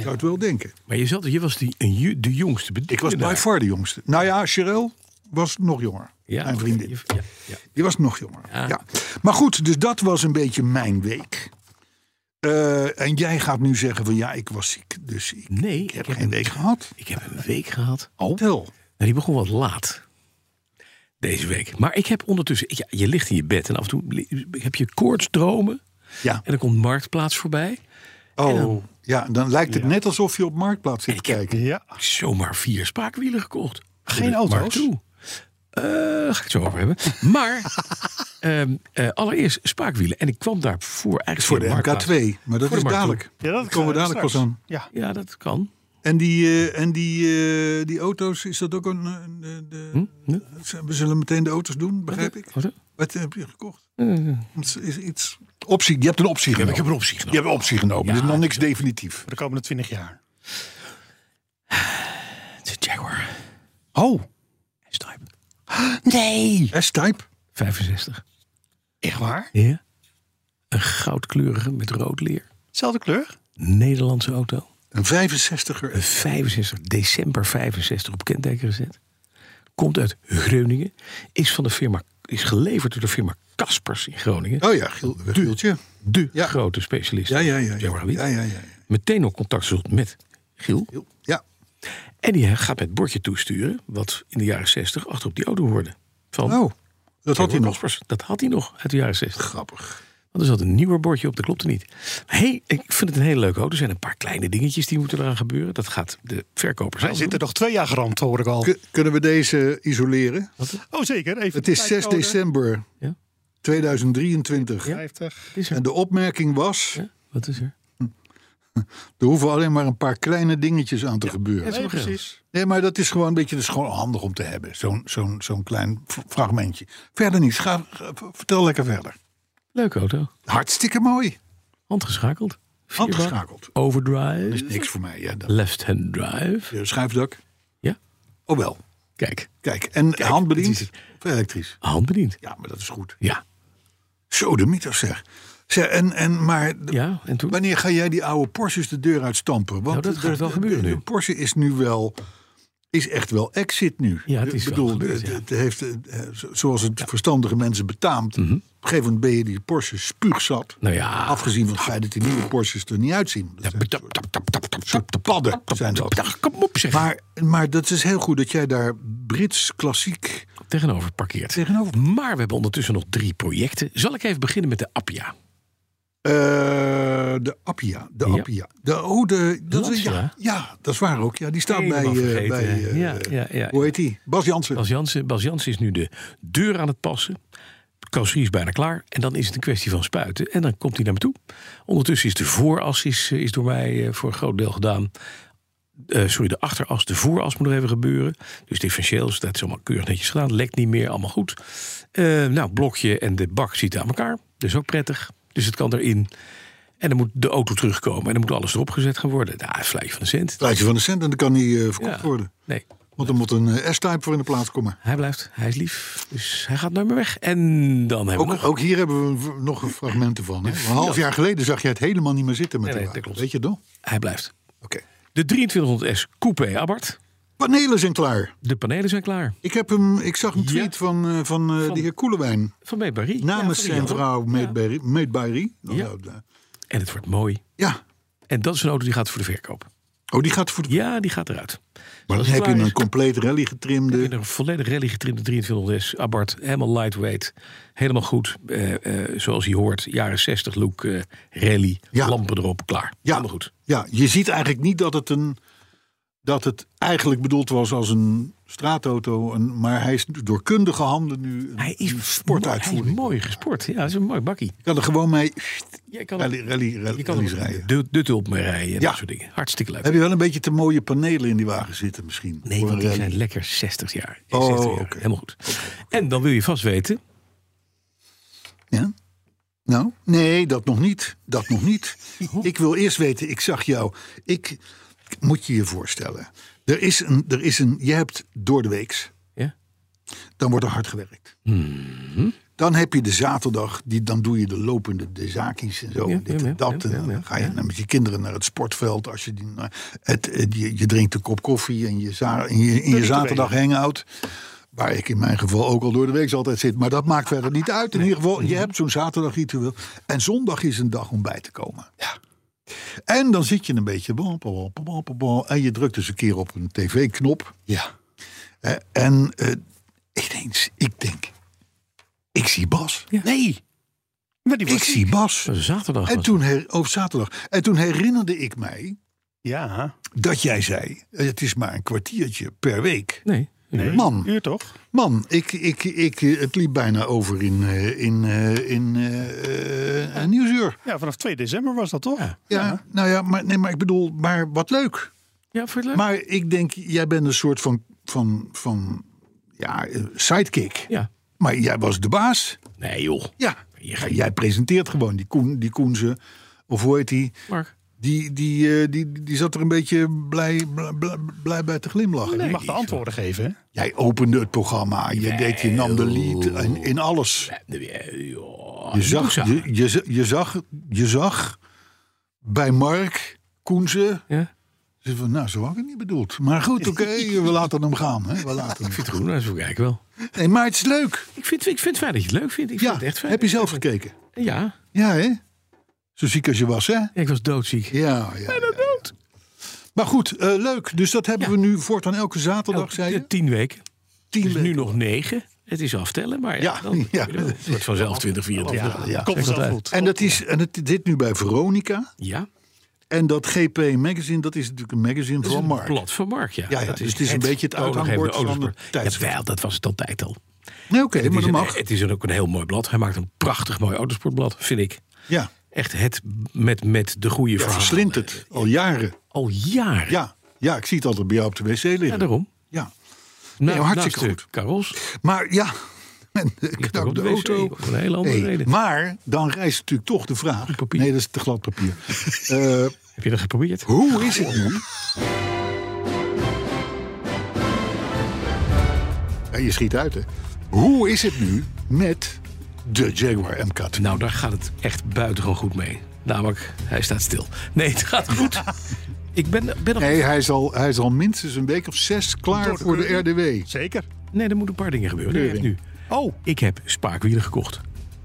Speaker 2: Zou het wel denken.
Speaker 3: Maar je, zat, je was die, een ju- de jongste bediende.
Speaker 2: Ik was
Speaker 3: daar.
Speaker 2: by far de jongste. Nou ja, Cheryl was nog jonger.
Speaker 3: ja,
Speaker 2: mijn
Speaker 3: oké,
Speaker 2: vriendin.
Speaker 3: je- Ja, ja.
Speaker 2: Die was nog jonger.
Speaker 3: Ja.
Speaker 2: Ja. Maar goed, dus dat was een beetje mijn week. Eh, en jij gaat nu zeggen van ja, ik was ziek. Dus ik,
Speaker 3: Nee,
Speaker 2: ik heb geen week gehad.
Speaker 3: Ik heb een week gehad.
Speaker 2: Oh. Vertel.
Speaker 3: Nou, die begon wat laat. Deze week. Maar ik heb ondertussen... Ja, je ligt in je bed en af en toe li- heb je koortsdromen.
Speaker 2: Ja.
Speaker 3: En dan komt Marktplaats voorbij.
Speaker 2: Oh. ja, dan lijkt het net alsof je op Marktplaats zit te kijken.
Speaker 4: Ja.
Speaker 3: zomaar vier spaakwielen gekocht.
Speaker 4: Geen
Speaker 3: Voor de
Speaker 4: auto's?
Speaker 3: Mark II. Eh, daar ga ik het zo over hebben. Maar ehm, eh, allereerst spaakwielen. En ik kwam daarvoor eigenlijk
Speaker 2: Voor de
Speaker 3: via Marktplaats.
Speaker 2: MK2. Maar dat
Speaker 3: Voor de
Speaker 2: is
Speaker 3: Mark
Speaker 2: dadelijk.
Speaker 4: Ja, dat
Speaker 2: Daar komen we
Speaker 4: eh,
Speaker 2: dadelijk pas
Speaker 4: straks.
Speaker 2: aan.
Speaker 4: Ja.
Speaker 3: Ja, dat kan.
Speaker 2: En die, eh, en die, eh, die auto's, is dat ook een... een- de- de-
Speaker 3: Nee?
Speaker 2: We zullen meteen de auto's doen, begrijp ik?
Speaker 3: Wat?
Speaker 2: Wat heb je gekocht? Is, is iets... optie, je hebt een optie genomen.
Speaker 3: ik heb een optie genomen.
Speaker 2: Je hebt een optie genomen.
Speaker 3: Ja.
Speaker 2: Dit is nog niks definitief.
Speaker 4: Voor de komende 20 jaar.
Speaker 3: Het is een Jaguar.
Speaker 4: Oh.
Speaker 3: S-Type.
Speaker 4: Nee.
Speaker 2: S-type?
Speaker 3: 65.
Speaker 4: Echt waar?
Speaker 3: Ja. Een goudkleurige met rood leer.
Speaker 4: Zelfde kleur?
Speaker 3: Nederlandse auto.
Speaker 2: Een 65er.
Speaker 3: Een 65, december 65 op kenteken gezet. komt uit Groningen. Is, van de firma, is geleverd door de firma Kaspers in Groningen.
Speaker 2: Oh ja, Giel, Gieltje.
Speaker 3: De
Speaker 2: Ja.
Speaker 3: grote specialist.
Speaker 2: Ja, ja, ja.
Speaker 3: Zeg maar
Speaker 2: Ja,
Speaker 3: niet.
Speaker 2: ja, ja. ja.
Speaker 3: Meteen nog contact gezocht met Giel.
Speaker 2: Giel, ja.
Speaker 3: En die gaat met het bordje toesturen. wat in de jaren 60 achter op die auto hoorde. Van
Speaker 2: Oh, dat had hij nog.
Speaker 3: Kaspers. Dat had hij nog uit de jaren 60.
Speaker 2: Grappig.
Speaker 3: Want er zat een nieuwer bordje op, dat klopte niet. Hey, ik vind het een hele leuke auto. Er zijn een paar kleine dingetjes die moeten eraan gebeuren. Dat gaat de verkoper
Speaker 4: Hij
Speaker 3: zelf
Speaker 4: zit er
Speaker 3: doen.
Speaker 4: nog twee jaar gerand, hoor ik al.
Speaker 2: Kun- kunnen we deze isoleren?
Speaker 4: Oh, zeker. Even
Speaker 2: Het is 6
Speaker 4: tijdcode.
Speaker 2: december
Speaker 3: Ja?
Speaker 2: 2023.
Speaker 4: 50.
Speaker 3: Is
Speaker 2: En
Speaker 3: er.
Speaker 2: de opmerking was,
Speaker 3: Ja? Wat is er?
Speaker 2: er hoeven alleen maar een paar kleine dingetjes aan te gebeuren.
Speaker 4: Nee, precies.
Speaker 2: Nee, maar dat is gewoon een beetje, dat is gewoon handig om te hebben. Zo'n zo'n zo'n klein v- fragmentje. Verder niets. Ga, ga- vertel lekker verder.
Speaker 3: Leuke auto.
Speaker 2: Hartstikke mooi.
Speaker 3: Handgeschakeld. Vierbak.
Speaker 2: Handgeschakeld. Dat is
Speaker 3: Overdrive.
Speaker 2: niks voor mij. Ja, dat,
Speaker 3: Left-hand drive.
Speaker 2: Eh, schuifdak.
Speaker 3: Ja.
Speaker 2: Oh wel.
Speaker 3: Kijk,
Speaker 2: Kijk, en handbediend.
Speaker 3: het is-
Speaker 2: Of elektrisch.
Speaker 3: handbediend.
Speaker 2: Ja, maar dat is goed.
Speaker 3: Ja.
Speaker 2: Zo de mythos zeg. zeg en, en, maar de-
Speaker 3: Ja, en toen?
Speaker 2: wanneer ga jij die oude Porsches de deur uitstampen? Want
Speaker 3: Nou, dat gaat
Speaker 2: de-
Speaker 3: wel
Speaker 2: de-
Speaker 3: gebeuren
Speaker 2: de,
Speaker 3: nu.
Speaker 2: de Porsche is nu wel... Is echt wel exit nu.
Speaker 3: Ja, het is
Speaker 2: Ik
Speaker 3: wel
Speaker 2: bedoel,
Speaker 3: gebeurd,
Speaker 2: het,
Speaker 3: ja.
Speaker 2: het heeft, eh, eh, zo- zoals het verstandige mensen betaamt.
Speaker 3: Mhm.
Speaker 2: Op een gegeven moment ben je die Porsche spuugzat.
Speaker 3: Nou ja.
Speaker 2: Afgezien van het feit dat die nieuwe Porsches er niet uitzien. Dat zijn
Speaker 3: Tap, tap, tap, tap, tap, tap,
Speaker 2: soort
Speaker 3: tap.
Speaker 2: padden zijn dat.
Speaker 3: Ja, Kom op zeg.
Speaker 2: Maar, maar dat is heel goed dat jij daar Brits klassiek
Speaker 3: Tegenover parkeert.
Speaker 2: tegenover.
Speaker 3: Maar we hebben ondertussen nog drie projecten. Zal ik even beginnen met de Appia?
Speaker 2: Eh, de Appia. De
Speaker 3: Ja.
Speaker 2: Appia. De, oh, de, dat is,
Speaker 3: Lancia.
Speaker 2: ja, ja, dat is waar ook. Ja, die staat bij.
Speaker 3: Helemaal
Speaker 2: eh,
Speaker 3: vergeten,
Speaker 2: bij
Speaker 3: hè.
Speaker 2: eh,
Speaker 3: Ja, ja, ja.
Speaker 2: Hoe heet die? Bas Jansen.
Speaker 3: Bas Jansen, Bas Jansen is nu de deur aan het passen. De carrosserie is bijna klaar. En dan is het een kwestie van spuiten. En dan komt hij naar me toe. Ondertussen is de vooras is, eh, is door mij eh, voor een groot deel gedaan. Eh, sorry, de achteras, de vooras moet nog even gebeuren. Dus differentieels, dat is allemaal keurig netjes gedaan. Lekt niet meer, allemaal goed. Eh, nou, blokje en de bak zitten aan elkaar. Dus ook prettig. Dus het kan erin. En dan moet de auto terugkomen. En dan moet alles erop gezet gaan worden. Nou, een fluitje van de cent.
Speaker 2: Rijtje van de cent en dan kan die eh, verkocht
Speaker 3: Ja.
Speaker 2: worden.
Speaker 3: Nee,
Speaker 2: Want er moet een eh, S-type voor in de plaats komen.
Speaker 3: hij blijft. Hij is lief. Dus hij gaat nooit meer weg. En dan hebben we nog...
Speaker 2: Ook, ook hier hebben we v- nog fragmenten van. Hè? Een half jaar geleden zag je het helemaal niet meer zitten met
Speaker 3: Nee,
Speaker 2: de
Speaker 3: nee,
Speaker 2: wagen.
Speaker 3: dat klopt.
Speaker 2: Weet je het nog? Oké.
Speaker 3: Hij blijft. De 2300S Coupé Abarth.
Speaker 2: Panelen zijn klaar.
Speaker 3: De panelen zijn klaar.
Speaker 2: Ik, heb hem, ik zag een tweet van, eh, van, eh, de heer Koelewijn.
Speaker 3: Van Meetbarie.
Speaker 2: Namens zijn vrouw Meet Barry.
Speaker 3: Ja. En het wordt mooi.
Speaker 2: ja.
Speaker 3: En dat is een auto die gaat voor de verkoop.
Speaker 2: Oh, die gaat voor de...
Speaker 3: Ja, die gaat eruit.
Speaker 2: Maar
Speaker 3: Als
Speaker 2: dan
Speaker 3: het
Speaker 2: heb je
Speaker 3: klaar is,
Speaker 2: een compleet rally
Speaker 3: heb je
Speaker 2: getrimde.
Speaker 3: een volledig rally getrimde 2300S Abarth. Helemaal lightweight. Helemaal goed. Eh, eh, zoals hij hoort. Jaren 60 look. eh, rally.
Speaker 2: Ja.
Speaker 3: Lampen erop. Klaar.
Speaker 2: Ja.
Speaker 3: Helemaal goed.
Speaker 2: Ja, je ziet eigenlijk niet dat het een. Dat het eigenlijk bedoeld was als een straatauto. Een, maar hij is door kundige handen nu een,
Speaker 3: Hij
Speaker 2: een
Speaker 3: is, hij is
Speaker 2: sportuitvoering.
Speaker 3: mooi gesport. Ja, dat is een mooi bakkie.
Speaker 2: Je kan er gewoon mee
Speaker 3: Je kan,
Speaker 2: rally, rally,
Speaker 3: je
Speaker 2: rally,
Speaker 3: kan
Speaker 2: rallies
Speaker 3: er
Speaker 2: rijden.
Speaker 3: de, de tulp mee rijden. En
Speaker 2: Ja.
Speaker 3: dat soort dingen. Hartstikke leuk.
Speaker 2: Heb je wel een beetje te mooie panelen in die wagen zitten misschien?
Speaker 3: Nee,
Speaker 2: voor
Speaker 3: want
Speaker 2: een
Speaker 3: die
Speaker 2: rally?
Speaker 3: zijn lekker 60 jaar.
Speaker 2: Oh,
Speaker 3: 60 jaar.
Speaker 2: oké.
Speaker 3: Helemaal goed. En dan wil je vast weten,
Speaker 2: Ja? Nou, nee, dat nog niet. Dat nog niet. Ik wil eerst weten, ik zag jou. Ik moet je je voorstellen. Er is een, er is een je hebt door de weeks.
Speaker 3: Ja.
Speaker 2: Dan wordt er hard gewerkt.
Speaker 3: Mhm.
Speaker 2: Dan heb je de zaterdag, die, dan doe je de lopende de zaakjes en zo.
Speaker 3: Ja,
Speaker 2: en dit
Speaker 3: ja, ja,
Speaker 2: en dat.
Speaker 3: ja,
Speaker 2: en
Speaker 3: ja,
Speaker 2: dan
Speaker 3: ja,
Speaker 2: ga je met je kinderen naar het sportveld. Als je, die, naar het, het- je, je drinkt een kop koffie en je, za- en je, in je zaterdag hangout. Waar ik in mijn geval ook al door de week altijd zit. Maar dat maakt verder niet uit. In ieder geval, je hebt zo'n zaterdagritueel. En zondag is een dag om bij te komen. En dan zit je een beetje. bal, bal, bal, bal, bal, bal, En je drukt dus een keer op een tv-knop.
Speaker 4: Ja.
Speaker 2: Eh, En eh, ineens, ik denk. Ik zie Bas.
Speaker 4: Nee. Maar die was
Speaker 2: Ik zie Bas.
Speaker 3: dat is zaterdag.
Speaker 2: En
Speaker 3: was-
Speaker 2: toen, her- op zaterdag. En toen herinnerde ik mij
Speaker 4: Ja.
Speaker 2: dat jij zei. eh, Het is maar een kwartiertje per week.
Speaker 3: Nee.
Speaker 4: Nee.
Speaker 2: Man.
Speaker 4: Uur toch?
Speaker 2: Man, ik, ik, ik, eh, het liep bijna over in, eh, in, eh, in eh, eh, Nieuwsuur.
Speaker 4: Ja, vanaf 2 december was dat toch?
Speaker 3: Ja.
Speaker 2: Ja, nou ja, maar, nee, maar ik bedoel, maar wat leuk.
Speaker 3: Ja, voor het leuk.
Speaker 2: Maar ik denk, jij bent een soort van, van, van ja, eh, sidekick.
Speaker 3: Ja.
Speaker 2: Maar jij was de baas.
Speaker 3: Nee joh.
Speaker 2: Ja,
Speaker 3: Je gaat-
Speaker 2: jij presenteert gewoon die, Koen, die Koenze, of hoe heet die?
Speaker 3: Mark.
Speaker 2: Die, die, eh, die, die zat er een beetje blij, bla- bla- blij bij te glimlachen.
Speaker 4: Je mag de antwoorden geven, hè?
Speaker 2: Jij opende het programma, je, deed, je nam de lead in, in alles.
Speaker 3: Nee, joh.
Speaker 2: Je zag,
Speaker 3: Doe
Speaker 2: je, je, z- je zag, je zag bij Mark Koenze
Speaker 3: Ja.
Speaker 2: Ze van, nou, zo had ik het niet bedoeld. Maar goed, oké, we laten hem gaan. Hè? We laten hem.
Speaker 3: Ik vind het goed, nou, dat is ook eigenlijk wel.
Speaker 2: Nee, maar het is leuk.
Speaker 3: Ik vind, ik vind het fijn dat je het leuk vindt. Ik vind
Speaker 2: Ja,
Speaker 3: het echt fijn.
Speaker 2: heb je zelf gekeken?
Speaker 3: Ja.
Speaker 2: Ja, hè? Zo ziek als je was, hè? Ja,
Speaker 3: Ja, ik was doodziek.
Speaker 2: ja. ja, ja. Maar goed, eh, leuk. Dus dat hebben
Speaker 3: Ja.
Speaker 2: we nu voortaan elke zaterdag, zei je?
Speaker 3: Ja, eh, Tien weken.
Speaker 2: Tien
Speaker 3: Dus nu
Speaker 2: weken.
Speaker 3: nog negen. Het is aftellen, maar ja,
Speaker 2: Ja,
Speaker 3: dan
Speaker 2: ja.
Speaker 3: het wordt vanzelf 2024.
Speaker 2: Ja, ja.
Speaker 4: Komt
Speaker 3: Zeg
Speaker 4: vanzelf
Speaker 3: dat
Speaker 4: goed.
Speaker 2: En, dat is, en het, dit nu bij Veronica.
Speaker 3: Ja,
Speaker 2: En dat GP Magazine, dat is natuurlijk een magazine
Speaker 3: dat is
Speaker 2: van
Speaker 3: een
Speaker 2: Mark.
Speaker 3: plat van Mark. Ja,
Speaker 2: Ja, ja, dus het is een beetje het
Speaker 3: toonaangevende
Speaker 2: uithangbord van
Speaker 3: Oostblad.
Speaker 2: de tijdschrift.
Speaker 3: Jawel, dat was het altijd al.
Speaker 2: Nee, oké,
Speaker 3: het,
Speaker 2: maar
Speaker 3: is
Speaker 2: dat
Speaker 3: een, e-,
Speaker 2: mag.
Speaker 3: het is ook een heel mooi blad. Hij maakt een prachtig mooi autosportblad, vind ik.
Speaker 2: Ja,
Speaker 3: Echt het met, met de goede
Speaker 2: ja
Speaker 3: verhalen.
Speaker 2: verslindt het al jaren.
Speaker 3: Al jaren.
Speaker 2: Ja. ja, ik zie het altijd bij jou op de wc liggen.
Speaker 3: Ja, daarom.
Speaker 2: Ja.
Speaker 3: Nou,
Speaker 2: hartstikke
Speaker 3: naast de Karos.
Speaker 2: Maar ja, en de
Speaker 3: ligt ook op de
Speaker 2: knakte
Speaker 3: wc,
Speaker 2: auto.
Speaker 3: op een hele andere
Speaker 2: Hey,
Speaker 3: reden.
Speaker 2: maar dan rijst natuurlijk toch de vraag.
Speaker 3: Papier.
Speaker 2: Nee, dat is te glad papier. Eh,
Speaker 3: Heb je dat geprobeerd?
Speaker 2: hoe is het nu? Ja, je schiet uit, hè? Hoe is het nu met de Jaguar MK2?
Speaker 3: Nou, daar gaat het echt buitengewoon goed mee. Namelijk, hij staat stil. Nee, het gaat goed. ik ben, ben nog...
Speaker 2: Nee, hij is, al, hij is al minstens een week of zes klaar
Speaker 4: Door de
Speaker 2: voor de RDW.
Speaker 4: Zeker.
Speaker 3: Nee, er moeten een paar dingen gebeuren. Nee, echt nu.
Speaker 4: Oh.
Speaker 3: Ik heb spaakwielen gekocht.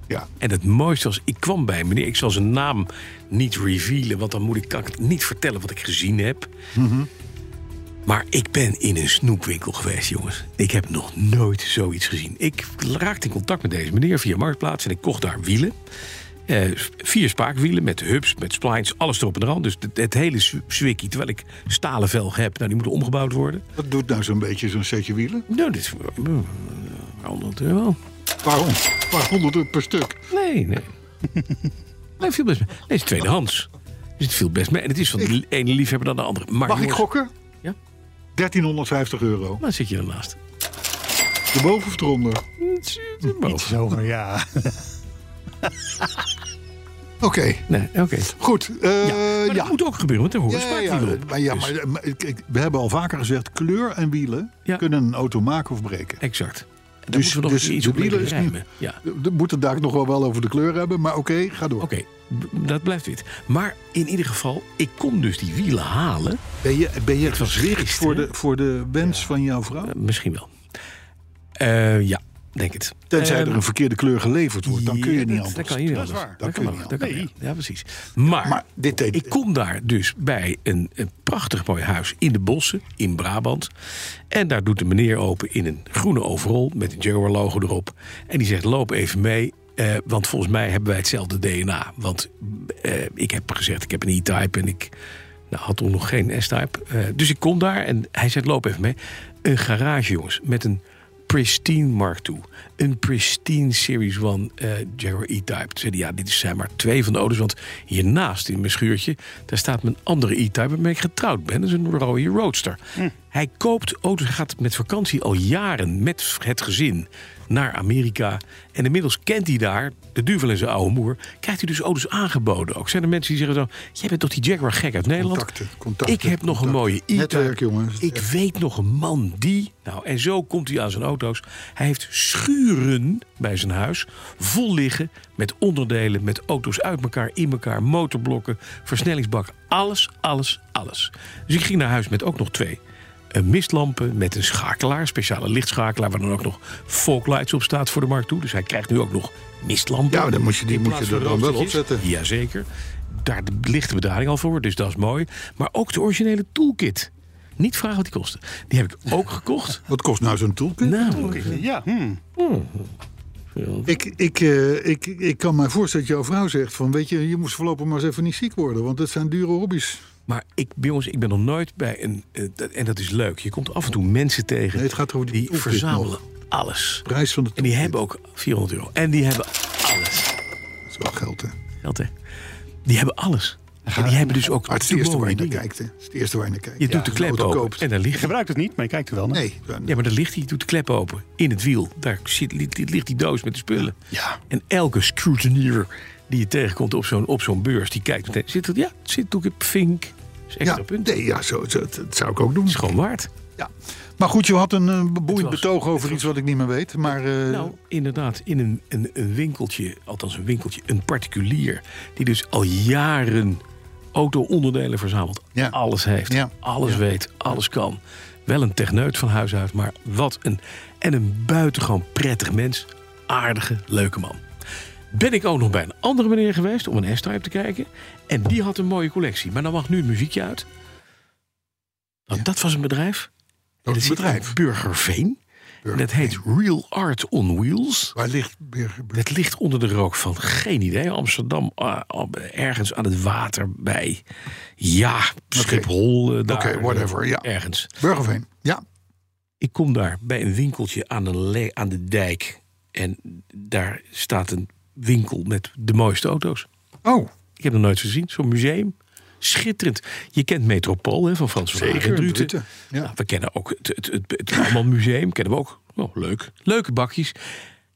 Speaker 2: Ja.
Speaker 3: En het mooiste was, ik kwam bij een meneer. Ik zal zijn naam niet revealen, want dan moet ik, kan ik het niet vertellen wat ik gezien heb. Maar ik ben in een snoepwinkel geweest, jongens. Ik heb nog nooit zoiets gezien. Ik raakte in contact met deze meneer via Marktplaats en ik kocht daar wielen. Eh, vier spaakwielen met hubs, met splines, alles erop en eraan. Dus het, het hele zw- zwikkie, terwijl ik stalen velg heb, nou, die moeten omgebouwd worden.
Speaker 2: Wat doet nou zo'n beetje zo'n setje wielen?
Speaker 3: Nou, dit is mm, 100 euro.
Speaker 2: Waarom? Een paar honderden per stuk.
Speaker 3: Nee, nee. nee, viel best mee. Nee, het is tweedehands. Dus het viel best mee. En het is van de ene liefhebber dan de andere. Maar
Speaker 2: Mag ik
Speaker 3: Ah, jongens,
Speaker 2: gokken?
Speaker 3: Ja.
Speaker 2: 1350 euro.
Speaker 3: Dan zit je ernaast.
Speaker 2: Erboven of eronder? Hm,
Speaker 3: Boven.
Speaker 4: Zo, maar ja.
Speaker 2: Oké,
Speaker 3: Nee, oké.
Speaker 2: goed. eh,
Speaker 3: Maar dat
Speaker 2: ja.
Speaker 3: moet ook gebeuren, want er horen
Speaker 2: Ja,
Speaker 3: spaakwielen
Speaker 2: ja,
Speaker 3: op.
Speaker 2: maar, ja,
Speaker 3: Dus,
Speaker 2: maar, maar kijk, we hebben al vaker gezegd, kleur en wielen
Speaker 3: Ja.
Speaker 2: kunnen een auto maken of breken.
Speaker 3: exact. En
Speaker 2: Dus-
Speaker 3: dus, moeten we nog
Speaker 2: dus
Speaker 3: een keer iets
Speaker 2: de
Speaker 3: op leren
Speaker 2: wielen is niet-
Speaker 3: rijmen. Ja.
Speaker 2: We we moeten het daar nog wel, wel over de kleur hebben, maar oké, ga door.
Speaker 3: Oké, b- dat blijft wit. Maar in ieder geval, ik kon dus die wielen halen.
Speaker 2: Ben je, ben je
Speaker 3: was
Speaker 2: gericht
Speaker 3: gisteren,
Speaker 2: voor de, voor de wens van jouw vrouw?
Speaker 3: Eh, misschien wel. Eh, ja, denk het.
Speaker 2: Tenzij
Speaker 3: Ehm,
Speaker 2: er een verkeerde kleur geleverd wordt, dan kun je
Speaker 3: Ja,
Speaker 2: niet
Speaker 3: dat-
Speaker 2: anders.
Speaker 3: Dat kan je niet anders.
Speaker 2: waar. Dat kun je
Speaker 3: kan
Speaker 2: niet
Speaker 3: dat kan
Speaker 2: anders.
Speaker 3: niet. Ja, precies. Maar,
Speaker 2: Maar dit deed-
Speaker 3: ik kom daar dus bij een, een prachtig mooi huis in de bossen in Brabant. En daar doet de meneer open in een groene overall met een Jaguar logo erop. En die zegt loop even mee. eh, want volgens mij hebben wij hetzelfde DNA. Want eh, ik heb gezegd, ik heb een E-type en ik nou, had toen nog geen S-type. Eh, dus ik kom daar en hij zegt, loop even mee. Een garage, jongens, met een pristine Mark II. Een pristine Series 1 eh Jaguar E-Type. Toen zei hij, ja, dit zijn maar twee van de auto's. Want hiernaast in mijn schuurtje, daar staat mijn andere E-Type... waarmee ik getrouwd ben, dat is een rode Roadster. Hij koopt auto's, hij gaat met vakantie al jaren met het gezin naar Amerika. En inmiddels kent hij daar de duvel en zijn oude moer. Krijgt hij dus auto's aangeboden ook. Zijn er mensen die zeggen zo, jij bent toch die Jaguar gek uit Nederland?
Speaker 2: Contacten, contacten,
Speaker 3: ik heb nog een mooie
Speaker 2: contacten.
Speaker 3: i
Speaker 2: Netwerk, jongens.
Speaker 3: Ik weet nog een man die... Nou, en zo komt hij aan zijn auto's. Hij heeft schuren bij zijn huis vol liggen met onderdelen... met auto's uit elkaar, in elkaar, motorblokken, versnellingsbak. Alles, alles, alles. Dus ik ging naar huis met ook nog twee eh, mistlampen met een schakelaar, speciale lichtschakelaar... waar dan ook nog folklights op staat voor de markt toe. Dus hij krijgt nu ook nog mistlampen.
Speaker 2: Ja, maar dan moet je, die
Speaker 3: In
Speaker 2: moet
Speaker 3: plaats
Speaker 2: je er
Speaker 3: van
Speaker 2: dan wel op
Speaker 3: roostertjes.
Speaker 2: zetten.
Speaker 3: Jazeker. Daar ligt de bedrading al voor, dus dat is mooi. Maar ook de originele toolkit. Niet vragen wat die kostte. Die heb ik ook gekocht.
Speaker 2: Wat kost nou zo'n toolkit?
Speaker 3: nou,
Speaker 4: Ja. hmm.
Speaker 2: Ik, ik, eh, ik, ik kan mij voorstellen dat jouw vrouw zegt van... weet je, je moest voorlopig maar eens even niet ziek worden... want dat zijn dure hobby's.
Speaker 3: maar ik, jongens, ik ben nog nooit bij een... eh, dat- en dat is leuk. Je komt af en toe mensen tegen
Speaker 2: Nee, het gaat over die
Speaker 3: die
Speaker 2: toolkit
Speaker 3: verzamelen
Speaker 2: nog.
Speaker 3: alles.
Speaker 2: Prijs van de
Speaker 3: En die
Speaker 2: toolkit.
Speaker 3: hebben ook 400 euro. En die hebben alles.
Speaker 2: Dat is wel geld, hè?
Speaker 3: Geld, hè? Die hebben alles. En die hebben dus ook
Speaker 2: Maar het is het eerste
Speaker 3: mooie
Speaker 2: waar je naar
Speaker 3: dingen.
Speaker 2: kijkt, hè? Het is het eerste waar je naar kijkt.
Speaker 3: Je
Speaker 2: Ja,
Speaker 3: doet de
Speaker 2: als je een
Speaker 3: klep
Speaker 2: auto
Speaker 3: open
Speaker 2: koopt.
Speaker 3: en daar
Speaker 4: Je
Speaker 3: ligt
Speaker 4: gebruikt het niet, maar je kijkt er wel naar.
Speaker 2: Nee, dan-
Speaker 3: Ja, maar daar ligt hij, doet de klep open. In het wiel. Daar zit, li- li- ligt die doos met de spullen.
Speaker 2: Ja.
Speaker 3: En elke scrutineer die je tegenkomt op zo'n, op zo'n beurs, die kijkt meteen. Zit dat? Ja, het zit ook op vink. Dat is extra
Speaker 2: ja,
Speaker 3: punt.
Speaker 2: nee, ja zo, zo, dat zou ik ook doen.
Speaker 3: Dat is gewoon waard.
Speaker 2: Ja. Maar goed, je had een eh, boeiend
Speaker 3: was-
Speaker 2: betoog
Speaker 3: het
Speaker 2: over iets wat ik niet meer weet. Maar eh,
Speaker 3: Nou, inderdaad, in een, een, een winkeltje, althans een winkeltje, een particulier, die dus al jaren auto-onderdelen verzamelt.
Speaker 2: Ja.
Speaker 3: Alles heeft,
Speaker 2: Ja.
Speaker 3: alles weet, alles kan. Wel een techneut van huis uit, maar wat een... En een buitengewoon prettig mens. Aardige, leuke man. Ben ik ook nog bij een andere meneer geweest om een S-Type te kijken. En die had een mooie collectie. Maar dan mag nu het muziekje uit. Want dat was een bedrijf.
Speaker 2: Dat is
Speaker 3: zit
Speaker 2: een
Speaker 3: in
Speaker 2: bedrijf.
Speaker 3: Burgerveen. En dat heet Real Art on Wheels.
Speaker 2: Waar ligt Burgerburg?
Speaker 3: Het ligt onder de rook van geen idee. Amsterdam, ah, ah, ergens aan het water bij. Ja, Schiphol. eh, daar,
Speaker 2: Oké, whatever, ja.
Speaker 3: Ergens.
Speaker 2: Burgerveen. Ja.
Speaker 3: Ik kom daar bij een winkeltje aan de, le- aan de dijk. En daar staat een winkel met de mooiste auto's.
Speaker 2: Oh,
Speaker 3: Ik heb nog nooit gezien. Zo'n museum. Schitterend. Je kent Metropool hè, van Frans van Hagen en Druten.
Speaker 2: Druten, ja.
Speaker 3: Nou, we kennen ook het, het, het, het Alman Museum. Kennen we ook. Nou, leuk. Leuke bakjes.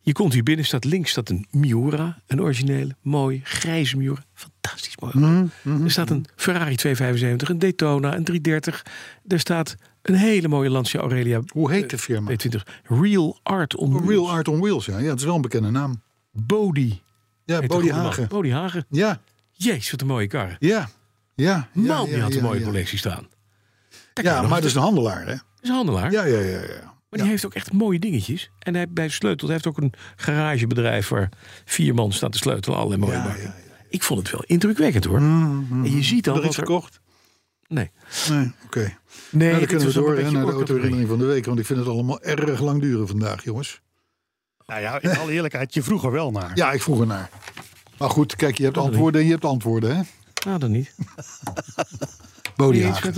Speaker 3: Je komt hier binnen, staat links staat een Miura. Een originele, mooie, grijze Miura. Fantastisch mooi.
Speaker 2: Mhm,
Speaker 3: Er staat een Ferrari 275, een Daytona, een 330. Er staat een hele mooie Lancia Aurelia
Speaker 2: hoe heet de firma?
Speaker 3: B20. Real Art on
Speaker 2: Oh, Real Art on Wheels, ja. ja. Het is wel een bekende naam.
Speaker 3: Bodie.
Speaker 2: Ja, Bodie Hagen.
Speaker 3: Bodie Hagen.
Speaker 2: Ja,
Speaker 3: Jezus, wat een mooie kar.
Speaker 2: ja, ja. ja,
Speaker 3: Nou,
Speaker 2: ja,
Speaker 3: die had een
Speaker 2: ja,
Speaker 3: mooie
Speaker 2: ja.
Speaker 3: collectie staan. Daar kan je
Speaker 2: Ja,
Speaker 3: nog
Speaker 2: maar
Speaker 3: eens-
Speaker 2: dat is een handelaar, hè?
Speaker 3: dat is een handelaar.
Speaker 2: Ja, ja, ja. ja.
Speaker 3: Maar die heeft ook echt mooie dingetjes. En hij, bij Sleutel hij heeft ook een garagebedrijf waar vier man staan te sleutelen. Allerlei mooie bakken. Ik vond het wel indrukwekkend hoor. En je ziet
Speaker 2: Mm-hmm. Er
Speaker 3: al wat
Speaker 2: is
Speaker 3: er...
Speaker 2: gekocht?
Speaker 3: Nee.
Speaker 2: Nee, oké.
Speaker 3: Nee,
Speaker 2: nou, dan kunnen we door hè, naar de
Speaker 3: auto.
Speaker 2: autoherinnering van de week. Want ik vind het allemaal erg lang duren vandaag, jongens.
Speaker 4: Nou ja, in alle eerlijkheid, je vroeg er wel naar.
Speaker 2: Ja, ik vroeg ernaar. Maar goed, kijk, je hebt antwoorden en je hebt antwoorden, hè?
Speaker 3: Nou, dan niet. Wil je iets
Speaker 2: Bodiagen.
Speaker 3: met,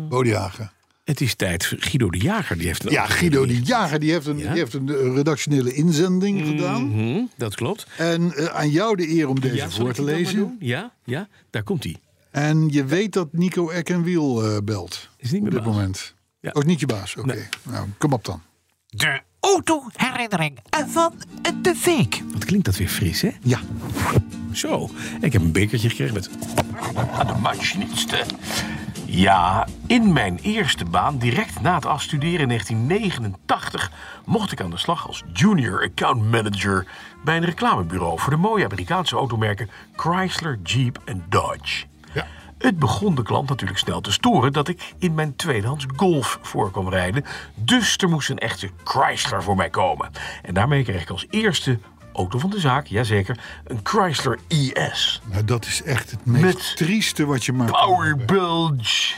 Speaker 3: eh,
Speaker 2: Bodiagen.
Speaker 3: het is tijd. voor- Guido de Jager die heeft een
Speaker 2: Ja,
Speaker 3: auto-
Speaker 2: Guido die Jager die heeft een,
Speaker 3: Ja?
Speaker 2: die heeft een eh, redactionele inzending gedaan.
Speaker 3: Mhm, dat klopt.
Speaker 2: En eh, aan jou de eer om deze
Speaker 3: Ja, zal
Speaker 2: voor
Speaker 3: ik
Speaker 2: te
Speaker 3: het dan maar
Speaker 2: lezen.
Speaker 3: doen? Ja, ja, daar komt hij.
Speaker 2: En je weet dat Nico Eck en Wiel eh, belt.
Speaker 3: Is niet
Speaker 2: op
Speaker 3: meer
Speaker 2: dit
Speaker 3: baas.
Speaker 2: moment.
Speaker 3: Ja.
Speaker 2: Ook niet je baas, oké.
Speaker 3: Nee.
Speaker 2: Nou, kom op dan.
Speaker 5: De autoherinnering van de week.
Speaker 3: Wat klinkt dat weer fris, hè?
Speaker 2: Ja,
Speaker 3: Zo, ik heb een bekertje gekregen met... Aan de machiniste. Ja, in mijn eerste baan, direct na het afstuderen in 1989... mocht ik aan de slag als junior account manager... bij een reclamebureau voor de mooie Amerikaanse automerken... Chrysler, Jeep en Dodge.
Speaker 2: Ja.
Speaker 3: Het begon de klant natuurlijk snel te storen dat ik in mijn tweedehands Golf voor kwam rijden. Dus er moest een echte Chrysler voor mij komen. En daarmee kreeg ik als eerste auto van de zaak, jazeker, een Chrysler E IS.
Speaker 2: nou dat is echt het meest
Speaker 3: Met
Speaker 2: trieste wat je maar...
Speaker 3: Power Bulge.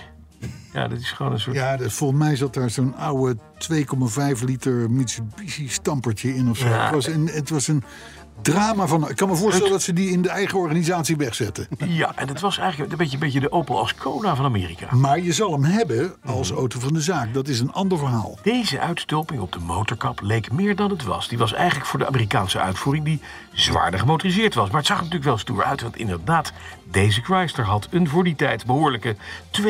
Speaker 3: Ja, dat is gewoon een soort...
Speaker 2: Ja, dat, volgens mij zat daar zo'n oude 2,5 liter Mitsubishi stampertje in of zo.
Speaker 3: Ja.
Speaker 2: Het, was een, het was een drama van... Ik kan me voorstellen dat ze die in de eigen organisatie wegzetten.
Speaker 3: Ja, en dat was eigenlijk een beetje, een beetje de Opel Ascona van Amerika.
Speaker 2: Maar je zal hem hebben als
Speaker 3: Mhm.
Speaker 2: auto van de zaak. Dat is een ander verhaal.
Speaker 3: Deze uitstulping op de motorkap leek meer dan het was. Die was eigenlijk voor de Amerikaanse uitvoering die zwaarder gemotoriseerd was. Maar het zag er natuurlijk wel stoer uit, want inderdaad, deze Chrysler had een voor die tijd behoorlijke 2,5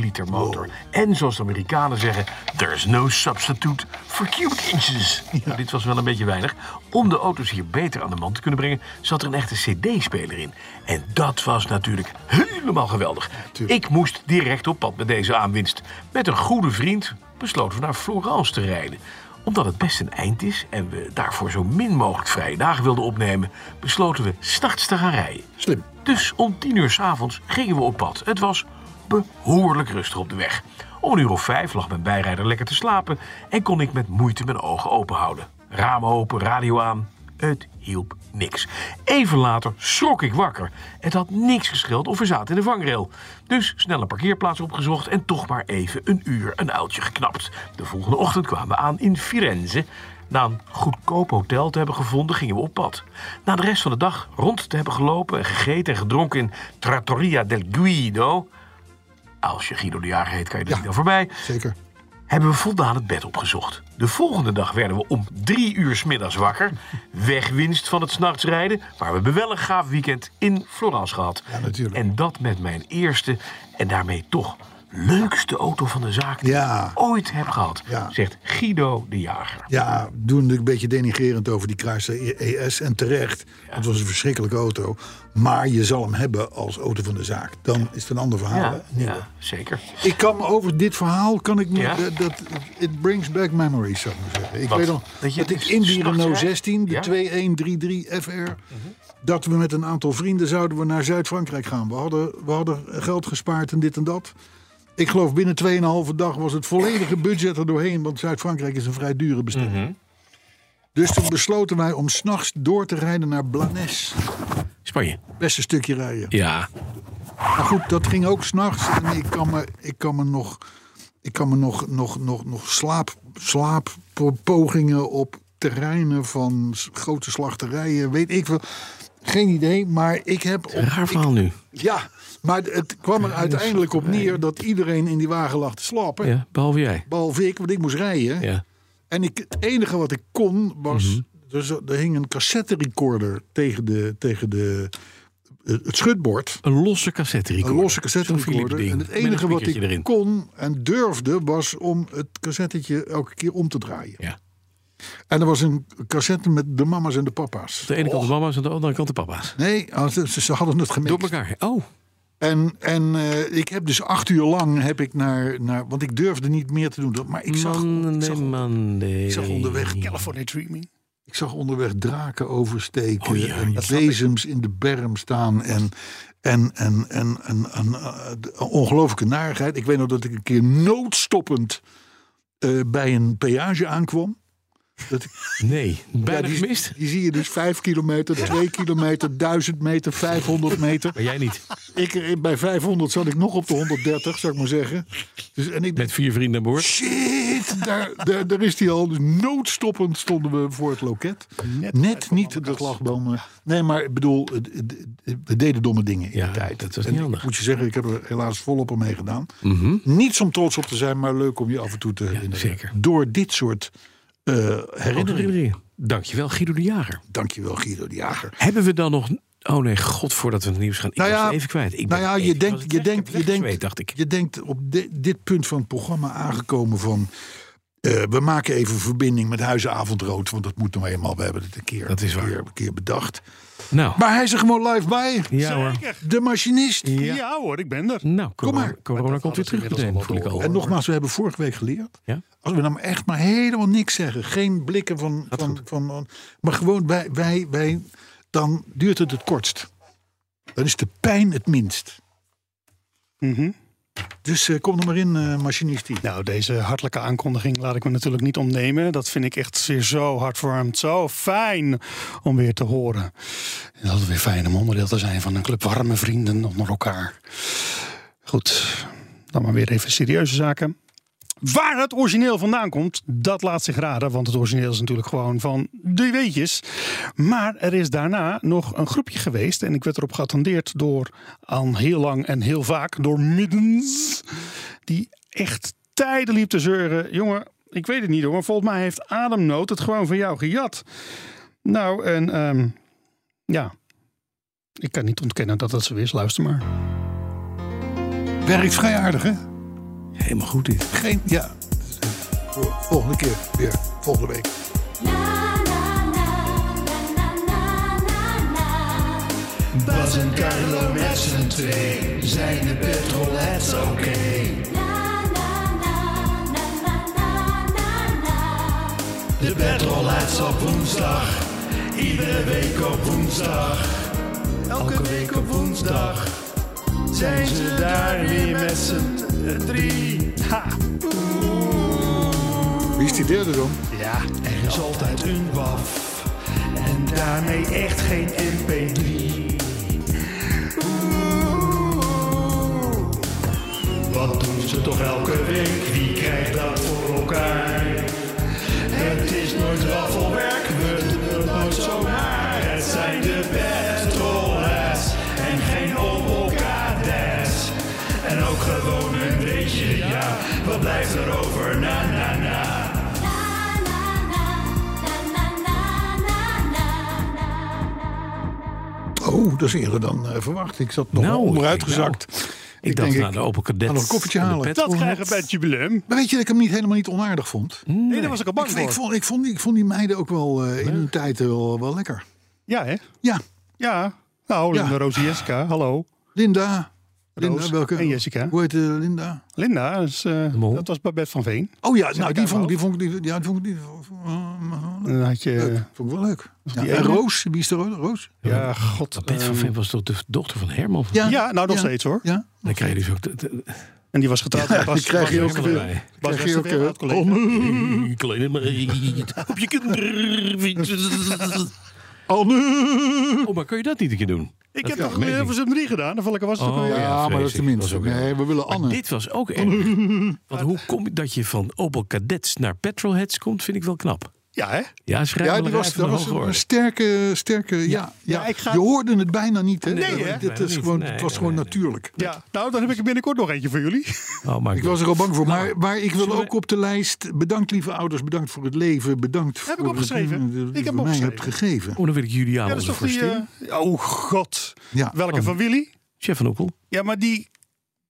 Speaker 3: liter motor. En zoals de Amerikanen zeggen, there's no substitute for cubic inches. Nou, dit was wel een beetje weinig. Om de auto's hier beter aan de man te kunnen brengen, zat er een echte CD-speler in. En dat was natuurlijk helemaal geweldig. Ik moest direct op pad met deze aanwinst. Met een goede vriend, besloten we naar Florence te rijden. Omdat het best een eind is en we daarvoor zo min mogelijk vrije dagen wilden opnemen, besloten we 's nachts te gaan rijden.
Speaker 2: Slim.
Speaker 3: Dus om tien uur s'avonds gingen we op pad. Het was behoorlijk rustig op de weg. Om een uur of vijf lag mijn bijrijder lekker te slapen en kon ik met moeite mijn ogen open houden. Ramen open, radio aan. Het hielp niks. Even later schrok ik wakker. Het had niks gescheeld of we zaten in de vangrail. Dus snel een parkeerplaats opgezocht en toch maar even een uur een uiltje geknapt. De volgende ochtend kwamen we aan in Firenze. Na een goedkoop hotel te hebben gevonden, gingen we op pad. Na de rest van de dag rond te hebben gelopen en gegeten en gedronken in Trattoria del Guido. Als je Guido de Jager heet, kan je er
Speaker 2: Ja.
Speaker 3: niet aan voorbij
Speaker 2: Zeker.
Speaker 3: hebben we voldaan het bed opgezocht. De volgende dag werden we om drie uur 's middags wakker. Wegwinst van het 's nachts rijden. Maar we hebben wel een gaaf weekend in Florence gehad.
Speaker 2: Ja, natuurlijk.
Speaker 3: En dat met mijn eerste en daarmee toch leukste auto van de zaak die
Speaker 2: Ja.
Speaker 3: ik ooit heb gehad.
Speaker 2: Ja.
Speaker 3: Zegt Guido de Jager.
Speaker 2: Ja, doen natuurlijk een beetje denigrerend over die Chrysler ES. En terecht, want het was een verschrikkelijke auto. Maar je zal hem hebben als auto van de zaak. Dan is het een ander verhaal. hè?
Speaker 3: Ja,
Speaker 2: Nieuwe.
Speaker 3: ja, zeker.
Speaker 2: Ik kan me over dit verhaal, kan ik me,
Speaker 3: Ja.
Speaker 2: dat, dat- it brings back memories, zou ik maar zeggen. Ik
Speaker 3: Wat?
Speaker 2: weet nog
Speaker 3: Dat
Speaker 2: dat,
Speaker 3: je
Speaker 2: ik
Speaker 3: dus
Speaker 2: in die
Speaker 3: s'nachts
Speaker 2: Renault
Speaker 3: rijdt?
Speaker 2: 16, de
Speaker 3: Ja.
Speaker 2: 2133 FR, dat we met een aantal vrienden zouden we naar Zuid-Frankrijk gaan. We hadden, we hadden geld gespaard en dit en dat. Ik geloof binnen 2,5 dag was het volledige budget er doorheen. Want Zuid-Frankrijk is een vrij dure bestemming.
Speaker 3: Mhm.
Speaker 2: Dus toen besloten wij om s'nachts door te rijden naar Blanes.
Speaker 3: Spanje.
Speaker 2: Best een stukje rijden.
Speaker 3: Ja.
Speaker 2: Maar goed, dat ging ook s'nachts. En ik kan me, ik kan me nog, ik kan me nog, nog, nog, nog slaap, slaappogingen op terreinen van s- grote slachterijen, weet ik veel. Geen idee, maar ik heb. op-
Speaker 3: Raar verhaal nu.
Speaker 2: ja, maar het kwam er uiteindelijk op neer dat iedereen in die wagen lag te slapen.
Speaker 3: Ja, behalve jij.
Speaker 2: Behalve ik, want ik moest rijden.
Speaker 3: Ja. Mhm.
Speaker 2: En ik, het enige wat ik kon was. dus er hing een cassette recorder tegen, de, tegen de, het schutbord.
Speaker 3: Een losse cassette recorder.
Speaker 2: Een losse
Speaker 3: Zo'n Philips
Speaker 2: cassette-recorder.
Speaker 3: ding.
Speaker 2: En het
Speaker 3: Met een
Speaker 2: enige wat ik
Speaker 3: speakertje erin.
Speaker 2: kon en durfde was om het cassettetje elke keer om te draaien.
Speaker 3: Ja.
Speaker 2: En er was een cassette met de mama's en de papa's.
Speaker 3: Aan de ene kant de mama's, aan de andere kant de papa's.
Speaker 2: Nee, ah, ze, ze- ze hadden het
Speaker 3: Door
Speaker 2: gemist.
Speaker 3: elkaar. Oh,
Speaker 2: En, en eh, ik heb dus acht uur lang heb ik naar, naar... Want ik durfde niet meer te doen. Dat- Maar ik zag, ik
Speaker 3: man,
Speaker 2: zag,
Speaker 3: man,
Speaker 2: ik zag onderweg...
Speaker 4: California Dreaming.
Speaker 2: Ik zag onderweg draken oversteken
Speaker 3: Oh ja,
Speaker 2: en bezems in de berm staan en, en, en, en, en, en, eh, de- een ongelooflijke narigheid. Ik weet nog dat ik een keer noodstoppend eh, bij een peage aankwam. Dat ik,
Speaker 3: Nee, bijna
Speaker 2: die,
Speaker 3: gemist.
Speaker 2: Die zie je dus vijf kilometer, twee kilometer, duizend meter, 500 meter.
Speaker 3: Maar jij niet.
Speaker 2: Ik, eh, bij 500 zat ik nog op de 130, zou ik maar zeggen. Dus, en ik
Speaker 3: Met vier vrienden aan boord.
Speaker 2: Shit, daar, daar, daar is hij al. Dus noodstoppend stonden we voor het loket. Net, niet de slagbomen. Nee, maar ik bedoel, eh, d- d- we deden domme dingen in
Speaker 3: Ja,
Speaker 2: die tijd.
Speaker 3: dat was
Speaker 2: En
Speaker 3: niet
Speaker 2: ik
Speaker 3: handig. Mhm.
Speaker 2: Moet je zeggen, ik heb er helaas volop aan meegedaan. Niets om trots op te zijn, maar leuk om je af en toe te herinneren.
Speaker 3: zeker.
Speaker 2: Door dit soort eh, herinneringen.
Speaker 3: Herinneringen. Dankjewel, Guido de Jager.
Speaker 2: Dankjewel, Guido de Jager.
Speaker 3: Hebben we dan nog... Oh nee, god, voordat we het nieuws gaan. Ik
Speaker 2: Nou
Speaker 3: was
Speaker 2: ja,
Speaker 3: het even kwijt. Ik
Speaker 2: nou
Speaker 3: ben
Speaker 2: ja,
Speaker 3: even-
Speaker 2: je
Speaker 3: ik was
Speaker 2: denkt,
Speaker 3: het
Speaker 2: je
Speaker 3: weg-
Speaker 2: denkt, je
Speaker 3: weggezweet,
Speaker 2: denkt,
Speaker 3: dacht ik.
Speaker 2: je denkt op di- dit punt van het programma aangekomen van. eh, we maken even verbinding met Huizen Avondrood, want dat moet nou eenmaal. We hebben het een keer,
Speaker 3: Dat is
Speaker 2: een
Speaker 3: waar.
Speaker 2: keer, een keer bedacht.
Speaker 3: Nou,
Speaker 2: Maar hij is er gewoon live bij.
Speaker 3: ja hoor.
Speaker 2: De machinist.
Speaker 4: Ja. hoor, ik ben er.
Speaker 3: Nou, corona,
Speaker 2: maar.
Speaker 3: corona komt weer terug meteen, voel ik al.
Speaker 2: En nogmaals, we hebben vorige week geleerd.
Speaker 3: Ja?
Speaker 2: Als we nou echt maar helemaal niks zeggen. Geen blikken van. van, van, maar gewoon wij, wij, wij. Dan duurt het het kortst. Dan is de pijn het minst.
Speaker 4: Mhm.
Speaker 2: Dus eh, kom er maar in, eh machinist.
Speaker 4: Nou, deze hartelijke aankondiging laat ik me natuurlijk niet ontnemen. Dat vind ik echt zeer zo hartverwarmd. Zo fijn om weer te horen. En dat is weer fijn om onderdeel te zijn van een club warme vrienden onder elkaar. Goed, dan maar weer even serieuze zaken. Waar het origineel vandaan komt, dat laat zich raden. Want het origineel is natuurlijk gewoon van de weetjes. Maar er is daarna nog een groepje geweest. En ik werd erop geattendeerd door, aan heel lang en heel vaak, door Middens. Die echt tijden liep te zeuren. Jongen, ik weet het niet hoor. Maar volgens mij heeft Ademnood het gewoon van jou gejat. Nou, en ehm, ja. Ik kan niet ontkennen dat dat zo is. Luister maar.
Speaker 2: Werkt vrij aardig, hè?
Speaker 3: Helemaal goed dit.
Speaker 2: Geen, ja. Volgende keer weer. Volgende week.
Speaker 6: Bas en Carlo met z'n twee zijn de petrolheads oké. De petrolheads op woensdag, iedere week op woensdag. Elke week op woensdag zijn ze daar weer met z'n drie.
Speaker 2: Wie is die derde dan?
Speaker 6: Ja, er is altijd een WAF en daarmee echt geen MP3. Oeh. Wat doen ze toch elke week? Wie krijgt dat voor elkaar? Het is nooit waffelwerk, we doen het nooit zomaar. Het zijn de petrolheads en geen omokades. En ook gewoon een beetje, ja, wat blijft er over? Na, na, na.
Speaker 2: Oh, dat is eerder dan eh, verwacht. Ik zat nog
Speaker 3: Nou,
Speaker 2: onderuitgezakt.
Speaker 3: Ik, dacht
Speaker 2: denk
Speaker 3: na de Opel Cadet.
Speaker 2: ga nog een koffietje halen.
Speaker 4: Dat krijgen we bij het jubileum.
Speaker 2: Maar weet je dat ik hem niet, helemaal niet onaardig vond?
Speaker 4: Nee, daar was ik al bang
Speaker 2: Ik, ik,
Speaker 4: voor.
Speaker 2: vond, ik, vond, die- ik vond die meiden ook wel eh, in hun tijd wel, wel lekker.
Speaker 4: Ja, hè?
Speaker 2: Ja,
Speaker 4: Ja. Nou,
Speaker 2: Ja.
Speaker 4: Linda, Roos en Jessica. Hallo.
Speaker 2: Linda.
Speaker 4: Roos
Speaker 2: Linda, welke?
Speaker 4: en Jessica.
Speaker 2: Hoe heet eh, Linda?
Speaker 4: Linda, is, eh,
Speaker 3: Mol.
Speaker 4: dat was Babette van Veen.
Speaker 2: Oh ja, nou die
Speaker 4: daar
Speaker 2: vond, ik-
Speaker 4: wel?
Speaker 2: die vond ik... Die, ja, die vond ik... Die,
Speaker 4: Dan had je...
Speaker 2: Vond ik wel leuk. Ja,
Speaker 4: die
Speaker 2: en
Speaker 4: ene?
Speaker 2: Roos, wie is er ook? Roos?
Speaker 4: Ja, god. ehm.
Speaker 3: Babette van Veen was toch de dochter van Herman? van-
Speaker 4: Ja, nou nog
Speaker 2: Ja.
Speaker 4: steeds hoor.
Speaker 2: Ja,
Speaker 3: Dan kreeg je dus ook... de- de-
Speaker 4: En die was getrouwd met Bas.
Speaker 2: die krijg je
Speaker 4: Bas
Speaker 2: ook
Speaker 4: Westerwelle.
Speaker 2: weer.
Speaker 3: erbij.
Speaker 4: Bas
Speaker 2: Krijg je ook,
Speaker 4: Westerwelle,
Speaker 2: eh,
Speaker 4: oud collega.
Speaker 3: Eh, Kleine meid, op je kinderen. Oh, maar kun je dat niet een keer doen?
Speaker 4: Ik heb
Speaker 3: kan
Speaker 4: nog
Speaker 3: ik niet.
Speaker 4: eh, voor z'n drie gedaan. En ik was het
Speaker 3: Oh,
Speaker 4: ook weer.
Speaker 2: Ja, Ah, maar dat is
Speaker 3: vreselijk.
Speaker 2: de minste.
Speaker 3: Dat was ook
Speaker 2: Nee, we willen
Speaker 3: Maar
Speaker 2: Anne.
Speaker 3: dit was ook erg. Want hoe kom je dat je van Opel Kadets naar Petrolheads komt, vind ik wel knap.
Speaker 4: Ja, hè?
Speaker 3: Ja, schrijf
Speaker 2: Ja, die was, dat was een sterke, sterke ja. Ja,
Speaker 4: Ja, ik ga-
Speaker 2: Je hoorde het bijna niet, hè?
Speaker 4: Nee, hè?
Speaker 2: Dit
Speaker 3: Nee,
Speaker 2: is gewoon,
Speaker 3: nee,
Speaker 2: het was
Speaker 3: nee,
Speaker 2: gewoon
Speaker 3: nee,
Speaker 2: natuurlijk.
Speaker 4: Ja. Nou, dan heb ik er binnenkort nog eentje voor jullie.
Speaker 3: Oh, maar
Speaker 2: Ik was er al bang voor,
Speaker 3: Nou,
Speaker 2: maar, maar ik wil
Speaker 3: zullen we-
Speaker 2: ook op de lijst... Bedankt, lieve ouders, bedankt voor het leven, bedankt voor
Speaker 4: ik
Speaker 2: het-
Speaker 4: opgeschreven.
Speaker 2: eh, dat
Speaker 4: Ik heb
Speaker 2: je mij
Speaker 4: opgeschreven.
Speaker 2: hebt gegeven.
Speaker 3: Oh, dan weet ik Juliaan
Speaker 4: Ja, dat is
Speaker 3: onze
Speaker 4: toch die...
Speaker 3: vorstin.
Speaker 4: eh, oh, god.
Speaker 2: Ja.
Speaker 4: Welke van Willy?
Speaker 3: Chef van Opel.
Speaker 4: Ja, maar die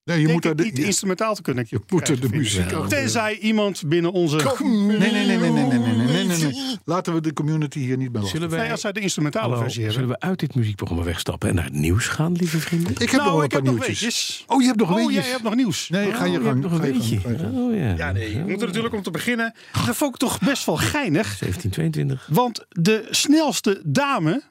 Speaker 2: Nee, je
Speaker 4: denk
Speaker 2: moet daar
Speaker 4: ik
Speaker 2: de,
Speaker 4: niet
Speaker 2: je-
Speaker 4: instrumentaal te kunnen
Speaker 2: je moet er de
Speaker 4: krijgen, vind ik.
Speaker 2: muziek
Speaker 3: Ja.
Speaker 2: aan.
Speaker 4: Tenzij iemand binnen onze...
Speaker 2: Nee, nee, nee, nee, nee, nee, nee, nee, nee, nee. Laten we de community hier niet bij lasten.
Speaker 3: Zullen
Speaker 4: Nee,
Speaker 3: wij,
Speaker 4: als zij de instrumentale
Speaker 3: Hallo,
Speaker 4: versie hebben.
Speaker 3: zullen we uit dit muziekprogramma wegstappen en naar het nieuws gaan, lieve vrienden?
Speaker 2: Ik heb nog wel
Speaker 4: nou,
Speaker 2: een
Speaker 4: ik
Speaker 2: paar
Speaker 4: heb nog
Speaker 2: nieuwtjes.
Speaker 4: weetjes.
Speaker 2: Oh, je hebt nog
Speaker 4: Oh,
Speaker 2: weetjes?
Speaker 4: jij hebt nog nieuws.
Speaker 2: Nee, ga je
Speaker 3: Oh, je hebt
Speaker 2: gang.
Speaker 3: nog een
Speaker 2: Ga je gang,
Speaker 3: beetje.
Speaker 2: ga je gang.
Speaker 3: Oh, ja.
Speaker 4: Ja, nee. We moeten natuurlijk om te beginnen. Dat vond ik toch best wel geinig.
Speaker 3: 1722.
Speaker 4: Want de snelste dame,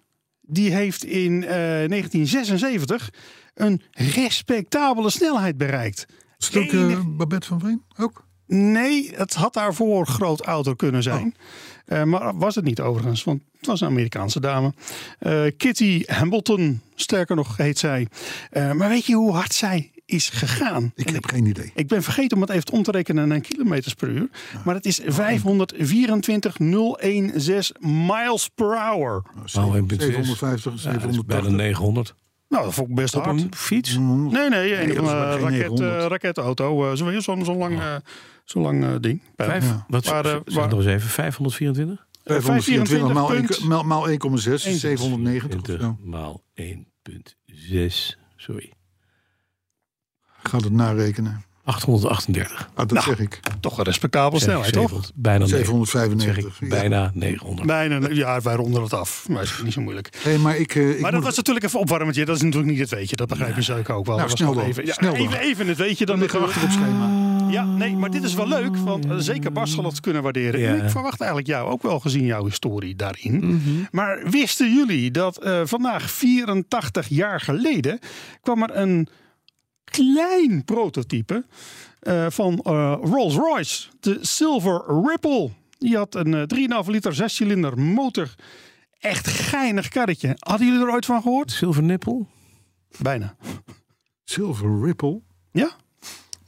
Speaker 4: die heeft in eh, 1976 een respectabele snelheid bereikt.
Speaker 2: Is het ook eh, Babette van Veen? Ook?
Speaker 4: Nee, het had daarvoor groot ouder kunnen zijn. Eh, maar was het niet overigens, want het was een Amerikaanse dame. Eh, Kitty Hamilton, sterker nog heet zij. Eh, maar weet je hoe hard zij is gegaan?
Speaker 2: Ik
Speaker 4: En
Speaker 2: heb geen idee.
Speaker 4: ik ben vergeten om het even om te rekenen naar kilometers per uur. Maar het
Speaker 2: Ah.
Speaker 4: is 524,016 miles per hour.
Speaker 2: Ah,
Speaker 3: Nou, en
Speaker 2: 750,
Speaker 3: Ja, dat is bijna
Speaker 2: 780.
Speaker 3: 900.
Speaker 4: Nou, dat vond ik best
Speaker 3: Op
Speaker 4: hard.
Speaker 3: een fiets?
Speaker 4: Nee, nee, een
Speaker 2: Nee,
Speaker 4: van,
Speaker 2: dat is maar geen Ah.
Speaker 4: eh, raket,
Speaker 2: 900.
Speaker 4: eh raketauto. eh, zo- Zo'n zo'n lang, eh, zo'n lang eh, ding.
Speaker 3: Vijf,
Speaker 2: Ja.
Speaker 3: Wat
Speaker 4: Maar, eh,
Speaker 3: zeg
Speaker 4: waar-
Speaker 3: nog eens even, 524?
Speaker 2: 524 Eh, maal
Speaker 4: 524
Speaker 2: één- maal- maal 1,6 is 790 of
Speaker 3: 20
Speaker 2: zo.
Speaker 3: maal 1,6. Sorry.
Speaker 2: Gaat het narekenen.
Speaker 3: 838.
Speaker 2: Ah, dat
Speaker 4: Nou.
Speaker 2: zeg ik.
Speaker 4: Toch een respectabele snelheid, toch?
Speaker 3: Zevenhonderd, Bijna, negen- zeg
Speaker 2: 795.
Speaker 3: ik,
Speaker 2: Ja.
Speaker 3: bijna 900.
Speaker 4: Bijna, ja, wij ronden het af. Maar is niet zo moeilijk.
Speaker 2: Nee, maar ik, eh, ik
Speaker 4: maar dat
Speaker 2: moet-
Speaker 4: was natuurlijk even opwarmend. Ja, dat is natuurlijk niet het weetje. Dat begrijp je zeker ook wel.
Speaker 2: Nou,
Speaker 4: Dat was
Speaker 2: snel
Speaker 4: gewoon
Speaker 2: dan.
Speaker 4: even, ja,
Speaker 2: Snel dan.
Speaker 4: even, even het weetje.
Speaker 2: dan
Speaker 4: Dan
Speaker 2: liggen we achter op schema.
Speaker 4: Ja, nee, maar dit is wel leuk, want eh, zeker Bas zal het kunnen waarderen.
Speaker 3: Ja.
Speaker 4: En ik verwacht eigenlijk jou ook wel gezien jouw historie daarin. Maar wisten jullie dat eh, vandaag 84 jaar geleden kwam er een klein prototype eh, van eh, Rolls-Royce, de Silver Ripple. Die had een eh, 3,5 liter zescilinder motor. Echt geinig karretje. Hadden jullie er ooit van gehoord?
Speaker 3: Zilvernippel?
Speaker 4: Bijna.
Speaker 2: Silver Ripple.
Speaker 4: Ja?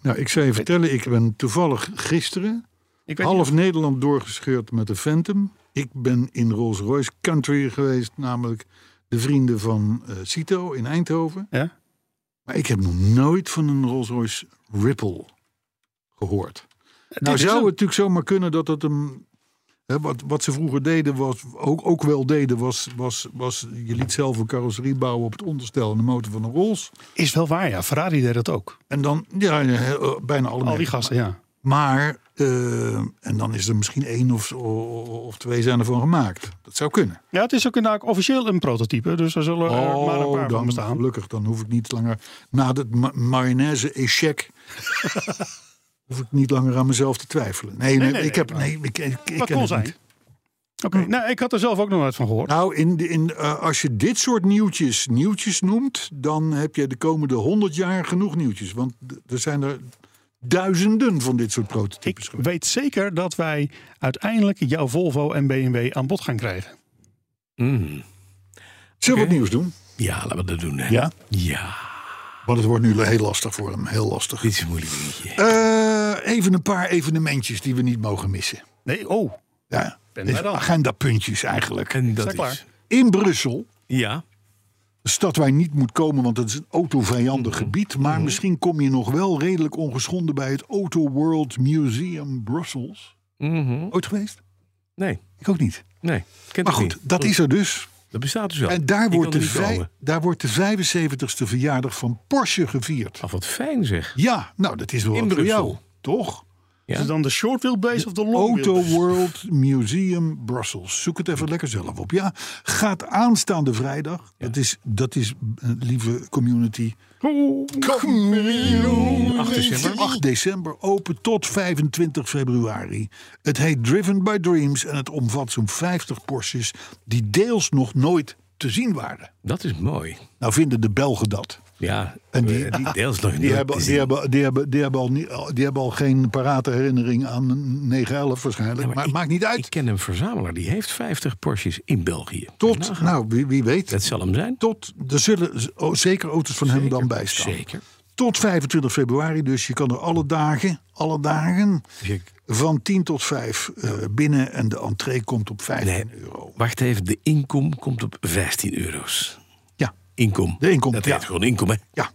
Speaker 2: Nou, ik zou je vertellen, ik ben toevallig gisteren
Speaker 4: Ik weet
Speaker 2: half Nederland doorgescheurd met de Phantom. Ik ben in Rolls-Royce Country geweest, namelijk de vrienden van eh, Cito in Eindhoven.
Speaker 4: niet. Ja?
Speaker 2: Maar ik heb nog nooit van een Rolls-Royce Ripple gehoord. nou
Speaker 4: is
Speaker 2: zou
Speaker 4: hem.
Speaker 2: het natuurlijk zomaar kunnen dat het hem... Hè, wat, wat ze vroeger deden, was, ook, ook wel deden, was, was, was... Je liet zelf een carrosserie bouwen op het onderstel en de motor van een Rolls.
Speaker 4: Is wel waar, ja. Ferrari deed dat ook.
Speaker 2: En dan, ja, ja, hè, eh, bijna alle
Speaker 4: Al die
Speaker 2: merken.
Speaker 4: gasten, ja.
Speaker 2: Maar, eh, en dan is er misschien één of, of twee zijn ervan gemaakt. Dat zou kunnen.
Speaker 4: Ja, het is ook inderdaad officieel een prototype, dus er zullen er maar een paar van
Speaker 2: Oh, dan,
Speaker 4: bestaan.
Speaker 2: gelukkig. Dan hoef ik niet langer, na dat ma- mayonaise-echec... hoef ik niet langer aan mezelf te twijfelen. Nee, nee,
Speaker 4: nee,
Speaker 2: ik
Speaker 4: nee,
Speaker 2: heb...
Speaker 4: maar-
Speaker 2: Nee, ik, ik, ik ken
Speaker 4: Dat kon
Speaker 2: het
Speaker 4: zijn.
Speaker 2: niet. Hm.
Speaker 4: Oké, nou, ik had er zelf ook nog nooit van gehoord.
Speaker 2: Nou, in, de- in, eh, als je dit soort nieuwtjes nieuwtjes noemt... dan heb je de komende honderd jaar genoeg nieuwtjes. Want d- er zijn er duizenden van dit soort prototypes
Speaker 4: ik
Speaker 2: geweest.
Speaker 4: weet zeker dat wij uiteindelijk jouw Volvo en BMW aan bod gaan krijgen.
Speaker 3: Mm.
Speaker 2: Zullen we
Speaker 3: Oké.
Speaker 2: wat nieuws doen?
Speaker 3: Ja, laten we dat doen. Hè.
Speaker 4: Ja?
Speaker 3: Ja,
Speaker 2: Maar het wordt nu heel lastig voor hem. Heel lastig.
Speaker 3: dit is een moeilijk dingetje.
Speaker 2: Eh, even een paar evenementjes die we niet mogen missen.
Speaker 4: Nee, oh,
Speaker 2: Ja, dus
Speaker 4: Ben wij dan?
Speaker 2: agendapuntjes eigenlijk.
Speaker 3: En dat
Speaker 4: dat
Speaker 3: is...
Speaker 4: klaar?
Speaker 2: In Brussel,
Speaker 3: Ja,
Speaker 2: een stad waar je niet moet komen, want het is een autovijandig
Speaker 3: Mhm.
Speaker 2: gebied. Maar misschien kom je nog wel redelijk ongeschonden bij het Auto World Museum Brussels.
Speaker 3: Mhm.
Speaker 2: Ooit geweest?
Speaker 3: nee,
Speaker 2: Ik ook niet.
Speaker 3: nee. Kent
Speaker 2: Maar
Speaker 3: het
Speaker 2: goed,
Speaker 3: niet.
Speaker 2: dat is er dus.
Speaker 3: Dat bestaat dus wel.
Speaker 2: En daar
Speaker 3: Ik
Speaker 2: wordt,
Speaker 3: kan
Speaker 2: de
Speaker 3: er niet
Speaker 2: vij-
Speaker 3: komen.
Speaker 2: daar wordt de 75ste verjaardag van Porsche gevierd.
Speaker 3: Ah, wat fijn zeg.
Speaker 2: Ja, nou dat is wel
Speaker 3: In
Speaker 2: wat voor
Speaker 3: Brussel.
Speaker 2: jou, toch?
Speaker 4: Is het dan de short wheelbase of de long
Speaker 2: Auto
Speaker 4: wheelbase?
Speaker 2: World Museum Brussels. Zoek het even lekker zelf op. Ja, gaat aanstaande vrijdag. Dat is, dat is eh, lieve community.
Speaker 3: 8 december.
Speaker 2: 8 december open tot 25 februari. Het heet Driven by Dreams en het omvat zo'n 50 Porsches die deels nog nooit te zien waren.
Speaker 3: Dat is mooi.
Speaker 2: Nou vinden de Belgen dat.
Speaker 3: Ja,
Speaker 2: En
Speaker 3: en
Speaker 2: die- Ah,
Speaker 3: die, die deels nog
Speaker 2: Die
Speaker 3: niet
Speaker 2: hebben,
Speaker 3: te
Speaker 2: die,
Speaker 3: zien.
Speaker 2: hebben, die, hebben, die, hebben al niet, die hebben al geen parate herinnering aan 9-11 waarschijnlijk.
Speaker 3: Ja,
Speaker 2: maar
Speaker 3: ik-
Speaker 2: maakt niet uit.
Speaker 3: Ik ken een verzamelaar die heeft 50 Porsches in België. Nou,
Speaker 2: tot, nou wie, wie weet.
Speaker 3: dat zal hem zijn.
Speaker 2: Tot, er zullen z- o- zeker auto's van hem dan bij staan.
Speaker 3: Zeker.
Speaker 2: Tot 25 februari, dus je kan er alle dagen, alle dagen
Speaker 3: Dus ik-
Speaker 2: van 10 tot 5 eh, binnen en de entree komt op 15
Speaker 3: Nee.
Speaker 2: euro.
Speaker 3: Wacht even, de inkom komt op 15 euro's.
Speaker 2: Ja,
Speaker 3: Inkom.
Speaker 2: De inkom,
Speaker 3: Dat
Speaker 2: ja.
Speaker 3: heet gewoon inkom, hè?
Speaker 2: ja.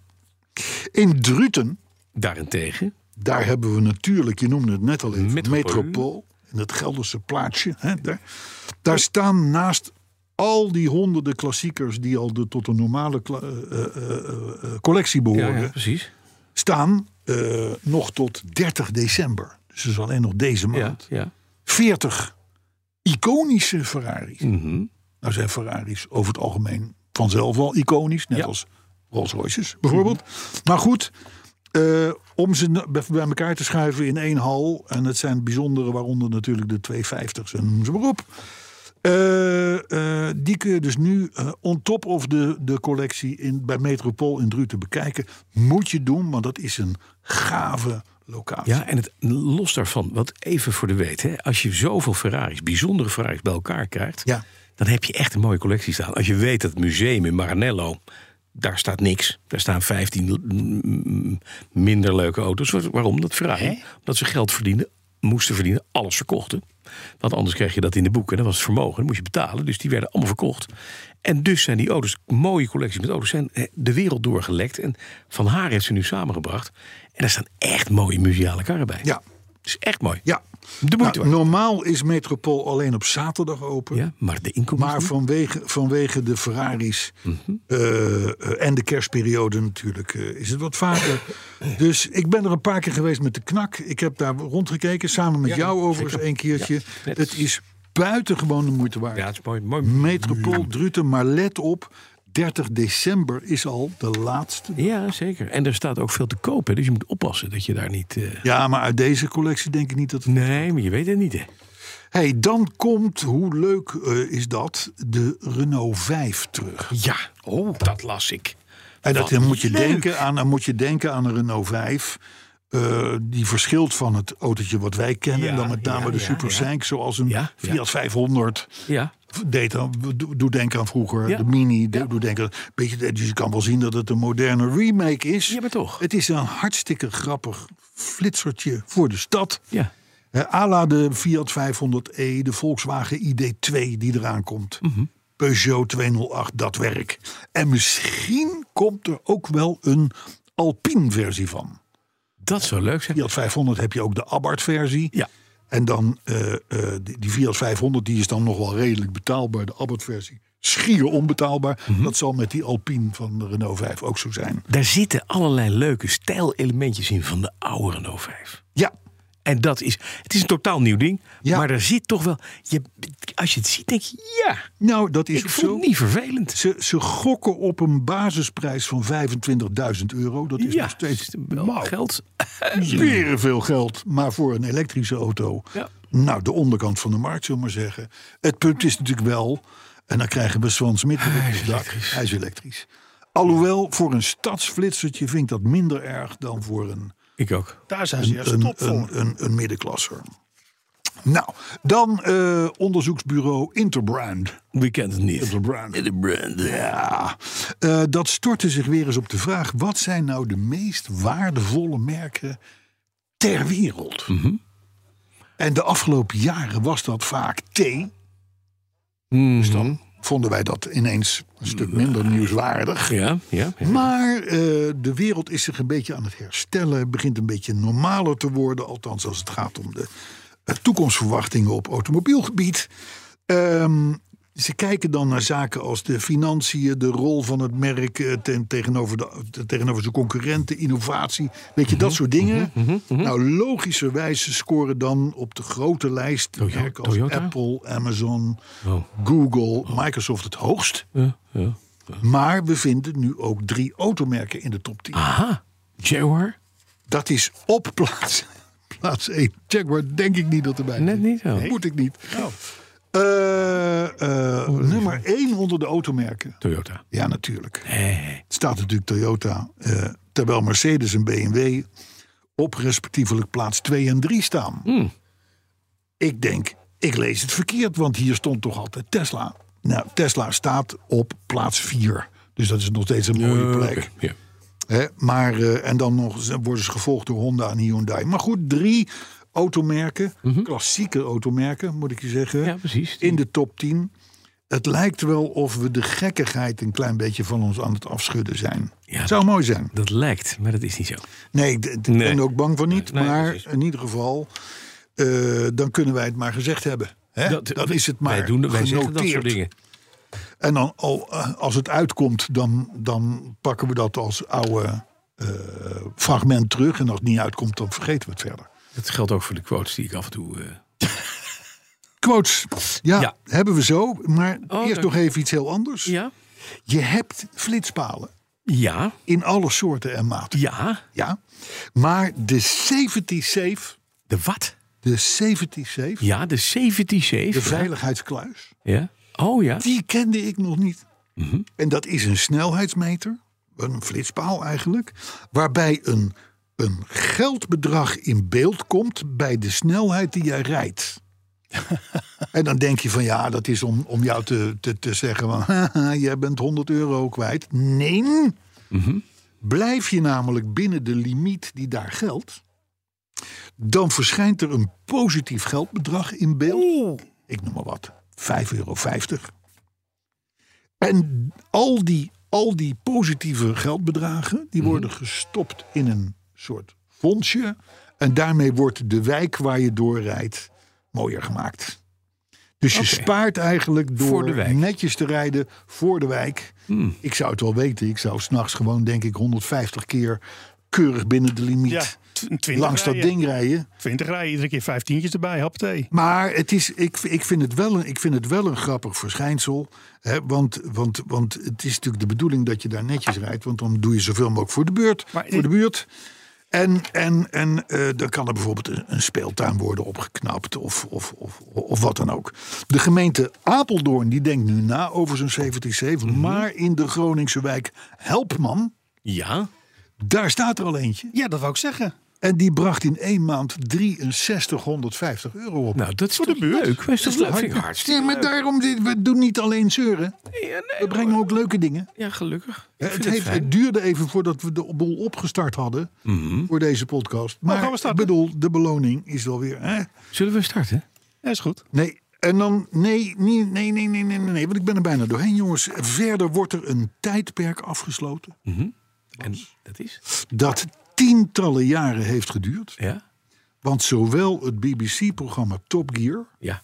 Speaker 2: In Druten,
Speaker 3: Daarentegen,
Speaker 2: daar hebben we natuurlijk, je noemde het net al even,
Speaker 3: Metropool.
Speaker 2: Metropool. In het Gelderse plaatsje. Hè, daar, daar staan naast al die honderden klassiekers die al de, tot een normale kla- eh, eh, eh, eh, collectie
Speaker 3: ja,
Speaker 2: behoren.
Speaker 3: ja, precies.
Speaker 2: staan eh, nog tot 30 december. Dus dat is alleen nog deze
Speaker 3: Ja,
Speaker 2: maand.
Speaker 3: ja.
Speaker 2: 40 iconische Ferraris.
Speaker 3: Mhm.
Speaker 2: Nou zijn Ferraris over het algemeen vanzelf al iconisch. Net
Speaker 3: Ja.
Speaker 2: als Rolls Royces bijvoorbeeld. Maar goed, eh, om ze na- bij bij elkaar te schuiven in één hal. En het zijn bijzondere, waaronder natuurlijk de 250's en noem ze maar op. Eh, eh, die kun je dus nu eh, on top of de, de collectie in, bij Metropool in Druten bekijken. Moet je doen, want dat is een gave locatie.
Speaker 3: Ja, en het los daarvan, wat even voor de weet, hè, als je zoveel Ferraris, bijzondere Ferraris bij elkaar krijgt,
Speaker 2: Ja.
Speaker 3: dan heb je echt een mooie collectie staan. Als je weet dat het museum in Maranello, daar staat niks. Daar staan 15 l- m- m- minder leuke auto's. Waar- Waarom? Dat Ferrari, omdat ze geld verdienden, moesten verdienen, alles verkochten. Want anders kreeg je dat in de boeken. Dat was het vermogen, dat moest je betalen. Dus die werden allemaal verkocht. En dus zijn die auto's, mooie collecties met auto's, zijn eh, de wereld doorgelekt. En Van Haar heeft ze nu samengebracht. En daar staan echt mooie museale karren bij.
Speaker 2: Ja.
Speaker 3: Het is echt mooi.
Speaker 2: Ja.
Speaker 3: De moeite
Speaker 2: Nou,
Speaker 3: waard.
Speaker 2: normaal is Metropool alleen op zaterdag open.
Speaker 3: ja, maar de inkomsten.
Speaker 2: Maar vanwege, vanwege de Ferraris eh, eh, en de kerstperiode natuurlijk eh, is het wat vaker. dus ik ben er een paar keer geweest met de knak. Ik heb daar rondgekeken, samen met jou overigens een keertje.
Speaker 3: net.
Speaker 2: het is buitengewoon de moeite waard.
Speaker 3: Ja, het is mooi. mooi.
Speaker 2: Metropool Druten, maar let op, 30 december is al de laatste.
Speaker 3: Ja, zeker. En er staat ook veel te kopen. Dus je moet oppassen dat je daar niet... eh,
Speaker 2: Ja, maar uit deze collectie denk ik niet dat...
Speaker 3: Nee, maar je weet het niet, hè?
Speaker 2: hey, dan komt, hoe leuk eh, is dat, de Renault 5 terug.
Speaker 3: Ja, oh. dat las ik.
Speaker 2: En dat,
Speaker 3: Wat
Speaker 2: dan, moet je
Speaker 3: leuk.
Speaker 2: denken aan, dan moet je denken aan een Renault 5. eh, die verschilt van het autootje wat wij kennen.
Speaker 3: Ja,
Speaker 2: dan met name
Speaker 3: ja,
Speaker 2: de
Speaker 3: ja,
Speaker 2: Super
Speaker 3: ja.
Speaker 2: Senk, zoals een
Speaker 3: Ja, ja.
Speaker 2: Fiat 500.
Speaker 3: Ja,
Speaker 2: Deed aan, doe, doe denken aan vroeger,
Speaker 3: Ja.
Speaker 2: de Mini. de- Doe denken, aan- beetje, dus je kan wel zien dat het een moderne remake is.
Speaker 3: Ja, maar toch.
Speaker 2: Het is een hartstikke grappig flitsertje voor de stad.
Speaker 3: ja.
Speaker 2: Hè, à la de Fiat 500e, de Volkswagen ID2 die eraan komt.
Speaker 3: Mhm.
Speaker 2: Peugeot 208, dat werk. En misschien komt er ook wel een Alpine versie van.
Speaker 3: Dat zou leuk zijn.
Speaker 2: Fiat 500 heb je ook de Abarth versie.
Speaker 3: Ja.
Speaker 2: En dan eh, eh, die, die Fiat 500 die is dan nog wel redelijk betaalbaar. De Abarth versie schier onbetaalbaar.
Speaker 3: Mhm.
Speaker 2: Dat zal met die Alpine van de Renault 5 ook zo zijn.
Speaker 3: Daar zitten allerlei leuke stijlelementjes in van de oude Renault 5.
Speaker 2: Ja,
Speaker 3: En dat is... Het is een totaal nieuw ding.
Speaker 2: Ja.
Speaker 3: Maar daar zit toch wel... Je, als je het ziet, denk je... Ja,
Speaker 2: nou dat is
Speaker 3: ik
Speaker 2: ook
Speaker 3: vond
Speaker 2: zo.
Speaker 3: het niet vervelend.
Speaker 2: Ze, ze gokken op een basisprijs van 25.000 euro. Dat is
Speaker 3: ja,
Speaker 2: nog steeds
Speaker 3: wel
Speaker 2: Wauw.
Speaker 3: geld.
Speaker 2: Zweren veel geld, maar voor een elektrische auto.
Speaker 3: Ja.
Speaker 2: Nou, de onderkant van de markt, zullen we maar zeggen. Het punt is natuurlijk wel, en dan krijgen we Swan Smit op het dak. Hij is elektrisch. Alhoewel, voor een stadsflitsertje vind ik dat minder erg dan voor een,
Speaker 3: Ik ook.
Speaker 4: Daar zijn ze juist
Speaker 2: een,
Speaker 4: top voor.
Speaker 2: een, een, een middenklasser. Nou, dan eh, onderzoeksbureau Interbrand.
Speaker 3: We kennen het niet.
Speaker 2: Interbrand.
Speaker 3: De brand.
Speaker 2: Ja, eh, dat stortte zich weer eens op de vraag: wat zijn nou de meest waardevolle merken ter wereld? En de afgelopen jaren was dat vaak thee.
Speaker 3: Mhm.
Speaker 2: Vonden wij dat ineens een stuk minder nieuwswaardig.
Speaker 3: Ja, ja. ja.
Speaker 2: Maar eh, de wereld is zich een beetje aan het herstellen. Begint een beetje normaler te worden. Althans, als het gaat om de eh, toekomstverwachtingen op automobielgebied. Ehm, Ze kijken dan naar zaken als de financiën, de rol van het merk eh, ten, tegenover, de, tegenover zijn concurrenten, innovatie. Weet je, dat
Speaker 3: Mhm.
Speaker 2: soort dingen. Nou, logischerwijze scoren dan op de grote lijst
Speaker 3: Toyo-
Speaker 2: merken als
Speaker 3: Toyota?
Speaker 2: Apple, Amazon,
Speaker 3: Oh.
Speaker 2: Google, Microsoft het hoogst.
Speaker 3: Ja, ja.
Speaker 2: Maar we vinden nu ook drie automerken in de top 10.
Speaker 3: Aha, Jaguar?
Speaker 2: Dat is op plaats, plaats 1. Jaguar denk ik niet dat erbij
Speaker 3: Net
Speaker 2: zit.
Speaker 3: niet, oh. Oh,
Speaker 2: Nee. Moet ik niet. Eh, eh, nummer 1 onder de automerken.
Speaker 3: Toyota.
Speaker 2: Ja, natuurlijk. Het staat natuurlijk Toyota. eh, terwijl Mercedes en BMW op respectievelijk plaats 2 en 3 staan.
Speaker 3: Hmm.
Speaker 2: Ik denk, ik lees het verkeerd, want hier stond toch altijd Tesla. Nou, Tesla staat op plaats 4. Dus dat is nog steeds een mooie
Speaker 3: Ja,
Speaker 2: plek.
Speaker 3: oké, ja.
Speaker 2: Hè, maar, eh, en dan nog, ze- worden ze gevolgd door Honda en Hyundai. Maar goed, drie automerken, klassieke automerken moet ik je zeggen,
Speaker 3: Mhm. Ja, precies.
Speaker 2: in de top 10. Het lijkt wel of we de gekkigheid een klein beetje van ons aan het afschudden zijn.
Speaker 3: Ja.
Speaker 2: Zou mooi zijn.
Speaker 3: Dat lijkt, maar dat is niet zo.
Speaker 2: Nee, ik d- d-
Speaker 3: Nee.
Speaker 2: ben ook bang voor niet.
Speaker 3: Nee, nee,
Speaker 2: maar
Speaker 3: precies.
Speaker 2: in ieder geval, eh, dan kunnen wij het maar gezegd hebben. Hè? Dat, is het maar
Speaker 3: Wij, doen, wij zeggen dat soort
Speaker 2: genoteerd.
Speaker 3: dingen.
Speaker 2: En dan, al, eh, als het uitkomt, dan, dan pakken we dat als oude eh, fragment terug. En als het niet uitkomt, dan vergeten we het verder.
Speaker 3: Dat geldt ook voor de quotes die ik af en toe... eh,
Speaker 2: Quotes. Ja,
Speaker 3: Ja.
Speaker 2: hebben we zo. Maar
Speaker 3: Oh, dank
Speaker 2: eerst
Speaker 3: je.
Speaker 2: nog even iets heel anders.
Speaker 3: Ja?
Speaker 2: Je hebt flitspalen
Speaker 3: Ja,
Speaker 2: in alle soorten en maten.
Speaker 3: ja.
Speaker 2: Ja. Maar de safety safe,
Speaker 3: De wat?
Speaker 2: de safety safe,
Speaker 3: Ja, de 77.
Speaker 2: de veiligheidskluis,
Speaker 3: Ja. Oh ja.
Speaker 2: die kende ik nog niet. En dat is een snelheidsmeter, een flitspaal eigenlijk, waarbij een, een geldbedrag in beeld komt bij de snelheid die jij rijdt. en dan denk je van ja, dat is om, om jou te, te, te zeggen van haha, jij bent 100 euro kwijt. Nee. Blijf je namelijk binnen de limiet die daar geldt, dan verschijnt er een positief geldbedrag in beeld. Ik noem maar wat, 5,50 euro. En al die, al die positieve geldbedragen,
Speaker 3: Mhm.
Speaker 2: die worden gestopt in een soort fondsje. En daarmee wordt de wijk waar je doorrijdt mooier gemaakt. Dus je spaart eigenlijk
Speaker 3: Voor de
Speaker 2: door
Speaker 3: wijk. Hmm.
Speaker 2: netjes te rijden voor de wijk. Ik zou het wel weten. Ik zou s'nachts gewoon, denk ik, 150 keer keurig binnen de limiet
Speaker 4: Ja, tw- 20
Speaker 2: langs dat
Speaker 4: rijden.
Speaker 2: ding rijden.
Speaker 4: 20 rijden, iedere keer vijftientjes erbij, hapte.
Speaker 2: Maar het is, ik, ik, vind het wel een, ik vind het wel een grappig verschijnsel. Hè, want, want, want het is natuurlijk de bedoeling dat je daar netjes rijdt. Want dan doe je zoveel mogelijk voor de buurt.
Speaker 4: Maar-
Speaker 2: voor de buurt. En, en, en eh, dan kan er bijvoorbeeld een, een speeltuin worden opgeknapt. Of, of, of, of wat dan ook. De gemeente Apeldoorn die denkt nu na over zo'n 77. Maar in de Groningse wijk Helpman.
Speaker 3: Ja.
Speaker 2: Daar staat er al eentje.
Speaker 4: Ja, dat wou ik zeggen.
Speaker 2: En die bracht in één maand 6350 euro op.
Speaker 3: Nou, dat is toch leuk. Dat is toch leuk. Vind ik hartstikke
Speaker 2: Ja, maar daarom, dit- we doen niet alleen zeuren. We brengen ook leuke dingen.
Speaker 3: Ja, gelukkig. Ik vind
Speaker 2: Het,
Speaker 3: het
Speaker 2: heeft,
Speaker 3: fijn.
Speaker 2: het duurde even voordat we de boel opgestart hadden
Speaker 3: Mhm.
Speaker 2: voor deze podcast. Maar
Speaker 4: Oh, gaan we
Speaker 2: ik
Speaker 4: starten?
Speaker 2: bedoel, de beloning is wel weer... Hè?
Speaker 3: Zullen we starten?
Speaker 4: Ja, is goed.
Speaker 2: Nee, en dan... Nee, nee, nee, nee, nee, nee, nee, want ik ben er bijna doorheen, jongens. Verder wordt er een tijdperk afgesloten...
Speaker 3: En dat is?
Speaker 2: dat tientallen jaren heeft geduurd.
Speaker 3: Ja.
Speaker 2: Want zowel het BBC-programma Top Gear...
Speaker 3: Ja.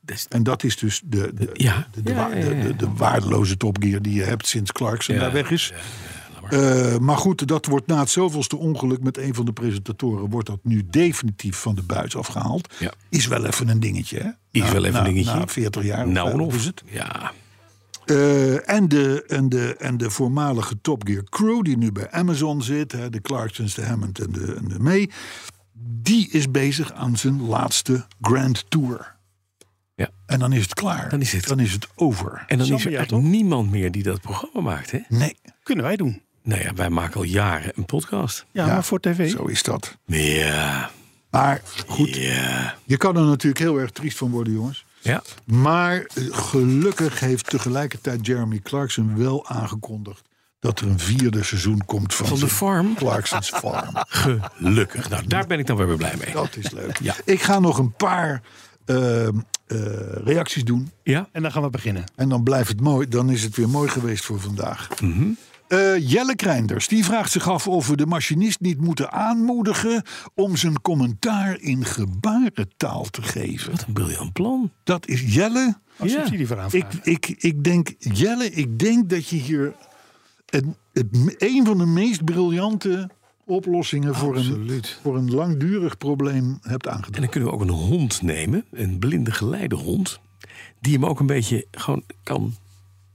Speaker 3: Dat is-
Speaker 2: En dat is dus de, de,
Speaker 3: Ja.
Speaker 2: de, de,
Speaker 3: Ja,
Speaker 2: wa-
Speaker 3: ja, ja,
Speaker 2: de-
Speaker 3: ja.
Speaker 2: de- de waardeloze topgear die je hebt sinds Clarkson
Speaker 3: Ja,
Speaker 2: daar weg is. Eh, maar goed, dat wordt na het zoveelste ongeluk met een van de presentatoren... wordt dat nu definitief van de buis afgehaald.
Speaker 3: Ja.
Speaker 2: Is wel even een dingetje, hè?
Speaker 3: Is wel even
Speaker 2: na-
Speaker 3: een dingetje.
Speaker 2: Na 40 jaar. of
Speaker 3: Nou,
Speaker 2: vijf-
Speaker 3: of is het? Ja.
Speaker 2: Eh, en, de, en, de, en de voormalige Top Gear crew die nu bij Amazon zit... Hè, de Clarksons, de Hammond en de, en de May... die is bezig aan zijn laatste Grand Tour...
Speaker 3: Ja.
Speaker 2: En dan is het klaar.
Speaker 3: Dan is het-
Speaker 2: dan is het over.
Speaker 3: En dan is er
Speaker 4: Zambia,
Speaker 3: echt
Speaker 4: toch?
Speaker 3: niemand meer die dat programma maakt, hè?
Speaker 2: Nee,
Speaker 4: Kunnen wij doen.
Speaker 3: Nou ja, wij maken al jaren een podcast.
Speaker 4: Ja, maar voor tv.
Speaker 2: zo is dat.
Speaker 3: Ja.
Speaker 2: Maar goed,
Speaker 3: Ja.
Speaker 2: je kan er natuurlijk heel erg triest van worden, jongens.
Speaker 3: Ja.
Speaker 2: Maar eh, gelukkig heeft tegelijkertijd Jeremy Clarkson wel aangekondigd dat er een vierde seizoen komt van,
Speaker 3: Van de
Speaker 2: zijn
Speaker 3: farm.
Speaker 2: Clarkson's Farm.
Speaker 3: Gelukkig. Nou, daar ben ik dan weer blij mee.
Speaker 2: Dat is leuk.
Speaker 3: Ja.
Speaker 2: Ik ga nog een paar eh, eh, reacties doen.
Speaker 3: Ja.
Speaker 4: En dan gaan we beginnen.
Speaker 3: Mhm.
Speaker 2: En dan blijft het mooi. Dan is het weer mooi geweest voor vandaag. Eh, Jelle Kreinders, die vraagt zich af of we de machinist niet moeten aanmoedigen om zijn commentaar in gebarentaal te geven.
Speaker 3: Wat een briljant plan.
Speaker 2: Dat is Jelle.
Speaker 4: Als
Speaker 3: Ja.
Speaker 4: subsidie voor aanvragen.
Speaker 2: Ik, ik, ik denk, Jelle, ik denk dat je hier een, het, een van de meest briljante oplossingen voor een,
Speaker 3: Absoluut.
Speaker 2: voor een langdurig probleem hebt
Speaker 3: En
Speaker 2: aangedaan.
Speaker 3: dan kunnen we ook een hond nemen, een blinde geleidehond, die hem ook een beetje gewoon kan.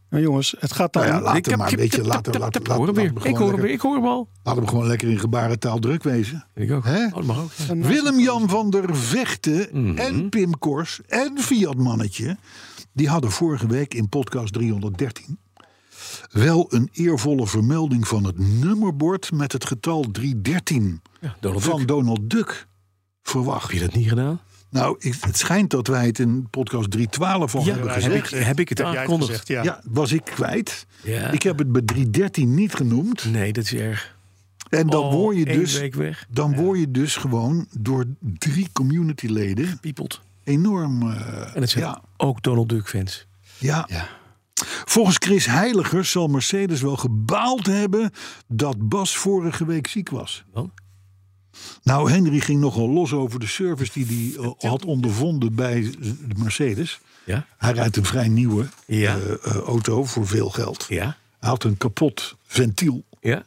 Speaker 4: Maar jongens, het gaat dan...
Speaker 2: Nou ja, laat
Speaker 3: Ik
Speaker 2: hem maar
Speaker 3: heb-
Speaker 2: een beetje.
Speaker 3: tap,
Speaker 2: Laat hem,
Speaker 3: tap,
Speaker 2: laat,
Speaker 3: tap,
Speaker 2: hem-
Speaker 3: hoor
Speaker 2: laat,
Speaker 3: hem weer.
Speaker 2: hem
Speaker 3: Ik
Speaker 2: gewoon
Speaker 3: hoor hem weer,
Speaker 2: lekker-
Speaker 3: ik hoor hem al.
Speaker 2: laat hem gewoon lekker in gebarentaal druk wezen.
Speaker 3: Ik ook.
Speaker 2: Hè?
Speaker 3: Oh, dat Mhm. mag ook. ja.
Speaker 2: Willem-Jan van der Vechten en Pim Kors en Fiat Mannetje... die hadden vorige week in podcast 313... wel een eervolle vermelding van het nummerbord met het getal 313...
Speaker 3: Ja, Donald
Speaker 2: van
Speaker 3: Duck.
Speaker 2: Donald Duck
Speaker 3: Heb
Speaker 2: verwacht.
Speaker 3: je dat niet gedaan?
Speaker 2: Nou, ik- het schijnt dat wij het in podcast 312 al hebben
Speaker 3: heb,
Speaker 2: gezegd.
Speaker 3: ik, heb ik het
Speaker 4: Heb jij het
Speaker 3: aangekondigd?
Speaker 4: gezegd, ja.
Speaker 2: Ja, was ik kwijt.
Speaker 3: Ja.
Speaker 2: Ik heb het bij 313 niet genoemd.
Speaker 3: Nee, dat is erg.
Speaker 2: En dan
Speaker 3: Oh,
Speaker 2: word je
Speaker 3: één
Speaker 2: dus...
Speaker 3: week weg.
Speaker 2: Dan word je dus gewoon door drie communityleden
Speaker 3: Piepelt.
Speaker 2: enorm... eh,
Speaker 3: En het zijn
Speaker 2: ja,
Speaker 3: ook Donald Duck fans.
Speaker 2: ja. Volgens Chris Heiligers zal Mercedes wel gebaald hebben dat Bas vorige week ziek was.
Speaker 3: Dan?
Speaker 2: Nou, Henry ging nogal los over de service die hij eh, had ondervonden bij de Mercedes.
Speaker 3: Ja?
Speaker 2: Hij rijdt een vrij nieuwe
Speaker 3: Ja.
Speaker 2: eh, eh, auto voor veel geld.
Speaker 3: Ja?
Speaker 2: Hij had een kapot ventiel.
Speaker 3: Ja?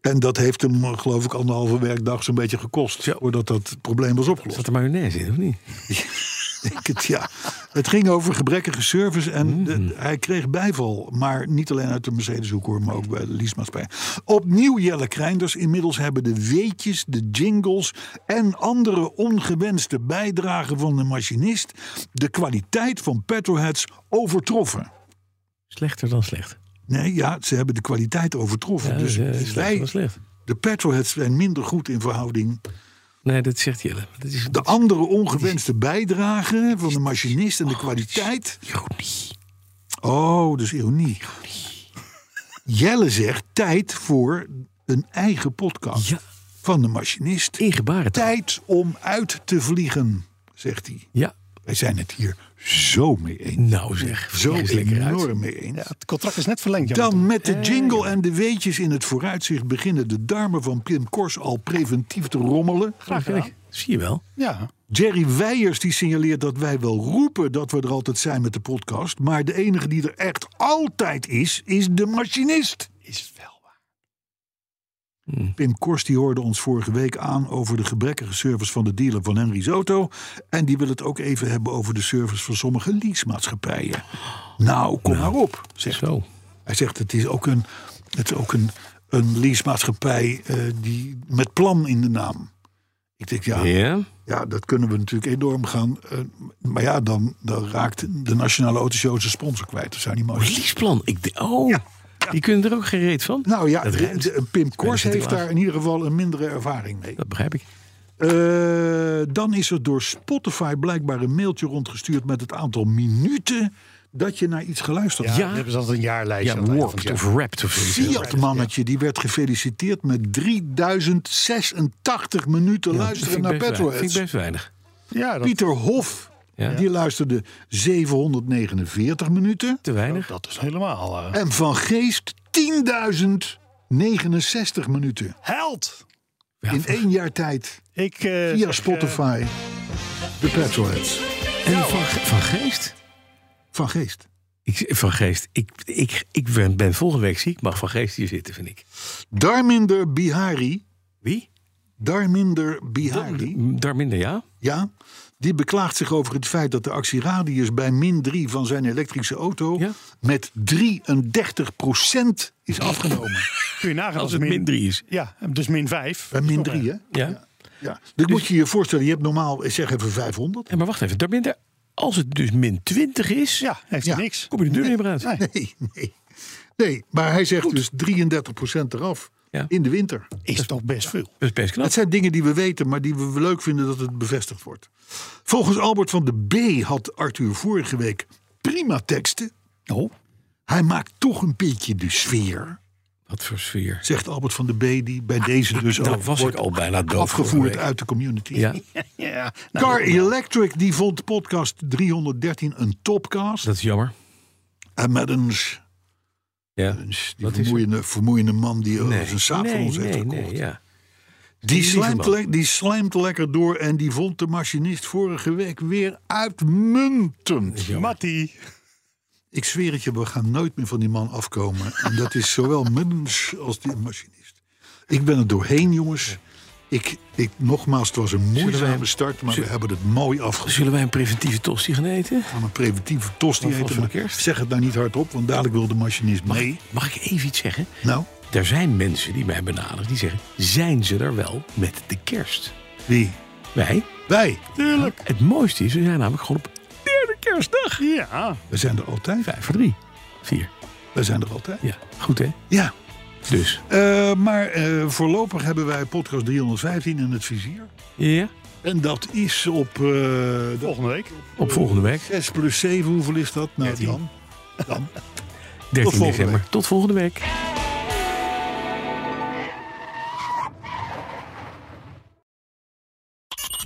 Speaker 2: En dat heeft hem, eh, geloof ik, anderhalve werkdag zo'n beetje gekost. Voordat dat probleem was opgelost.
Speaker 3: Zat er mayonaise in, of niet?
Speaker 2: Ik het, ja. het ging over gebrekkige service en
Speaker 3: Mm.
Speaker 2: de- hij kreeg bijval. Maar niet alleen uit de Mercedeshoek hoor, maar ook bij de leasemaatschappij. Opnieuw Jelle Kreinders. Inmiddels hebben de weetjes, de jingles en andere ongewenste bijdragen van de machinist... de kwaliteit van Petroheads overtroffen.
Speaker 3: Slechter dan slecht.
Speaker 2: Nee, ja, ze hebben de kwaliteit overtroffen.
Speaker 3: Ja,
Speaker 2: dus
Speaker 3: dus, eh, slechter dan
Speaker 2: wij,
Speaker 3: slecht.
Speaker 2: de Petroheads zijn minder goed in verhouding.
Speaker 3: Nee, dat zegt Jelle. Dat is
Speaker 2: De andere ongewenste bijdragen van de machinist en de kwaliteit...
Speaker 3: ironie.
Speaker 2: Oh, dus ironie. Jelle zegt tijd voor een eigen podcast
Speaker 3: Ja.
Speaker 2: van de machinist.
Speaker 3: In gebarentaal.
Speaker 2: Tijd om uit te vliegen, zegt hij.
Speaker 3: Ja.
Speaker 2: Wij zijn het hier zo mee eens.
Speaker 3: Nou zeg.
Speaker 2: Zo
Speaker 3: vlieg eens lekker uit.
Speaker 2: enorm mee eens.
Speaker 4: Het contract is net verlengd, ja.
Speaker 2: Dan met de jingle en de weetjes in het vooruitzicht beginnen de darmen van Pim Kors al preventief te rommelen.
Speaker 3: Graag gedaan. Zie je wel.
Speaker 4: Ja.
Speaker 2: Jerry Weijers die signaleert dat wij wel roepen dat we er altijd zijn met de podcast. Maar de enige die er echt altijd is, is de machinist.
Speaker 4: Is wel waar.
Speaker 2: Pim Kors die hoorde ons vorige week aan over de gebrekkige service van de dealer van Henry Soto. En die wil het ook even hebben over de service van sommige leasemaatschappijen. Nou, kom maar op. Zegt. hij.
Speaker 3: Zo.
Speaker 2: Hij zegt het is ook een, het is ook een, een leasemaatschappij eh, die, met plan in de naam. Ik denk ja,
Speaker 3: Ja.
Speaker 2: ja, dat kunnen we natuurlijk enorm gaan. eh, maar ja, dan, dan raakt de Nationale Autoshow zijn sponsor kwijt. Dat zou niet mooi zijn.
Speaker 3: Verliesplan. Ik d- oh. Die kunnen er ook geen reet van.
Speaker 2: Nou ja,
Speaker 3: Dat ruimt.
Speaker 2: de- de- Pim Kors
Speaker 3: het
Speaker 2: heeft
Speaker 3: helaas.
Speaker 2: daar in ieder geval een mindere ervaring mee.
Speaker 3: Dat begrijp ik.
Speaker 2: Eh, dan is er door Spotify blijkbaar een mailtje rondgestuurd met het aantal minuten dat je naar iets geluisterd hebt.
Speaker 3: Ja.
Speaker 4: Dan hebben ze altijd een jaarlijstje.
Speaker 3: Ja,
Speaker 4: aan het einde
Speaker 3: warped
Speaker 4: van het
Speaker 3: of
Speaker 4: jaar.
Speaker 3: wrapped of zoiets.
Speaker 2: Fiat mannetje, die werd gefeliciteerd met 3086 minuten
Speaker 3: Dat
Speaker 2: luisteren
Speaker 3: vind
Speaker 2: naar
Speaker 3: ik best weinig. vind ik
Speaker 2: Petroheads.
Speaker 3: best weinig.
Speaker 4: Ja, dat,
Speaker 2: Pieter Hof,
Speaker 3: Ja.
Speaker 2: die luisterde 749 minuten.
Speaker 3: Te weinig.
Speaker 4: dat is helemaal... eh,
Speaker 2: En Van Geest 10.069 minuten.
Speaker 4: held!
Speaker 2: In één jaar tijd.
Speaker 4: Ik, eh, zeg,
Speaker 2: Via
Speaker 4: eh,
Speaker 2: Spotify. De Petroheads.
Speaker 3: En die van, Ge- van Geest?
Speaker 2: Van Geest.
Speaker 3: Ik, van Geest. Ik, ik, ik ben, ben volgende week ziek. Mag Van Geest hier zitten, vind ik.
Speaker 2: Darminder Bihari.
Speaker 3: Wie?
Speaker 2: Darminder Bihari.
Speaker 3: Darminder, ja?
Speaker 2: Ja. Die beklaagt zich over het feit dat de actieradius bij min 3 van zijn elektrische auto
Speaker 3: Ja.
Speaker 2: met 33% is afgenomen.
Speaker 4: eh, Kun je nagaan
Speaker 3: Als het min 3 is.
Speaker 4: Ja, dus min 5.
Speaker 2: Bij Eh, min 3, hè?
Speaker 3: Ja.
Speaker 2: Ja. Dit moet je je voorstellen, je hebt normaal, ik zeg even 500.
Speaker 3: En maar wacht even. Darminder, als het dus min 20 is,
Speaker 4: Ja, heeft
Speaker 2: Ja.
Speaker 4: niks.
Speaker 3: kom je er nu niet meer uit.
Speaker 2: Nee, nee. Nee, maar hij zegt dus 33% eraf
Speaker 3: Ja.
Speaker 2: in de winter.
Speaker 4: Is toch best veel.
Speaker 3: Dat is best knap.
Speaker 2: Dat zijn dingen die we weten, maar die we leuk vinden dat het bevestigd wordt. Volgens Albert van de B had Arthur vorige week prima teksten.
Speaker 3: Oh.
Speaker 2: Hij maakt toch een beetje de sfeer,
Speaker 3: Wat voor sfeer.
Speaker 2: zegt Albert van de B, die bij deze dus
Speaker 3: Nou
Speaker 2: ook
Speaker 3: was ik
Speaker 2: wordt
Speaker 3: al bijna dood. vorige
Speaker 2: afgevoerd
Speaker 3: week.
Speaker 2: uit de community.
Speaker 3: Ja,
Speaker 4: Ja, nou,
Speaker 2: Car Electric die vond podcast 313 een topcast.
Speaker 3: dat is jammer.
Speaker 2: En met een s-
Speaker 3: Ja.
Speaker 2: Dus Die
Speaker 3: Wat is er?
Speaker 2: vermoeiende, vermoeiende man die eh, zijn saap voor
Speaker 3: nee,
Speaker 2: ons heeft
Speaker 3: nee,
Speaker 2: gekocht.
Speaker 3: nee, ja.
Speaker 2: Die
Speaker 3: Lieve
Speaker 2: slijmt,
Speaker 3: man.
Speaker 2: le- die slijmt lekker door en die vond de machinist vorige week weer uitmuntend.
Speaker 4: Mattie.
Speaker 2: Ik zweer het je, we gaan nooit meer van die man afkomen. En dat is zowel mens als die machinist. Ik ben er doorheen, jongens. Ik, ik, nogmaals, het was een moeizame
Speaker 3: wij-
Speaker 2: start, maar we hebben het mooi afgezien.
Speaker 3: Zullen wij een preventieve tosti gaan eten?
Speaker 2: Van een preventieve tos die
Speaker 3: Wat was
Speaker 2: heette,
Speaker 3: voor
Speaker 2: maar
Speaker 3: kerst?
Speaker 2: Zeg het nou niet hardop, want dadelijk wil de machinist mee.
Speaker 3: Mag ik even iets zeggen?
Speaker 2: Nou,
Speaker 3: Er zijn mensen die mij benaderen die zeggen: zijn ze er wel met de kerst?
Speaker 2: wie?
Speaker 3: Wij?
Speaker 2: Wij.
Speaker 3: Het mooiste is, we zijn namelijk gewoon op derde kerstdag.
Speaker 4: Ja.
Speaker 2: We zijn er altijd.
Speaker 3: Vijf voor drie. Vier.
Speaker 2: We zijn er altijd.
Speaker 3: Ja, goed hè?
Speaker 2: Ja.
Speaker 3: Dus.
Speaker 2: Eh, maar eh, voorlopig hebben wij podcast 315 in het vizier.
Speaker 3: Ja.
Speaker 2: En dat is op eh, de
Speaker 4: Volgende week.
Speaker 3: Op volgende week,
Speaker 2: 6 plus 7, hoeveel is dat? Nou, dan.
Speaker 3: 13
Speaker 2: volgende
Speaker 3: december.
Speaker 2: week.
Speaker 3: Tot volgende week.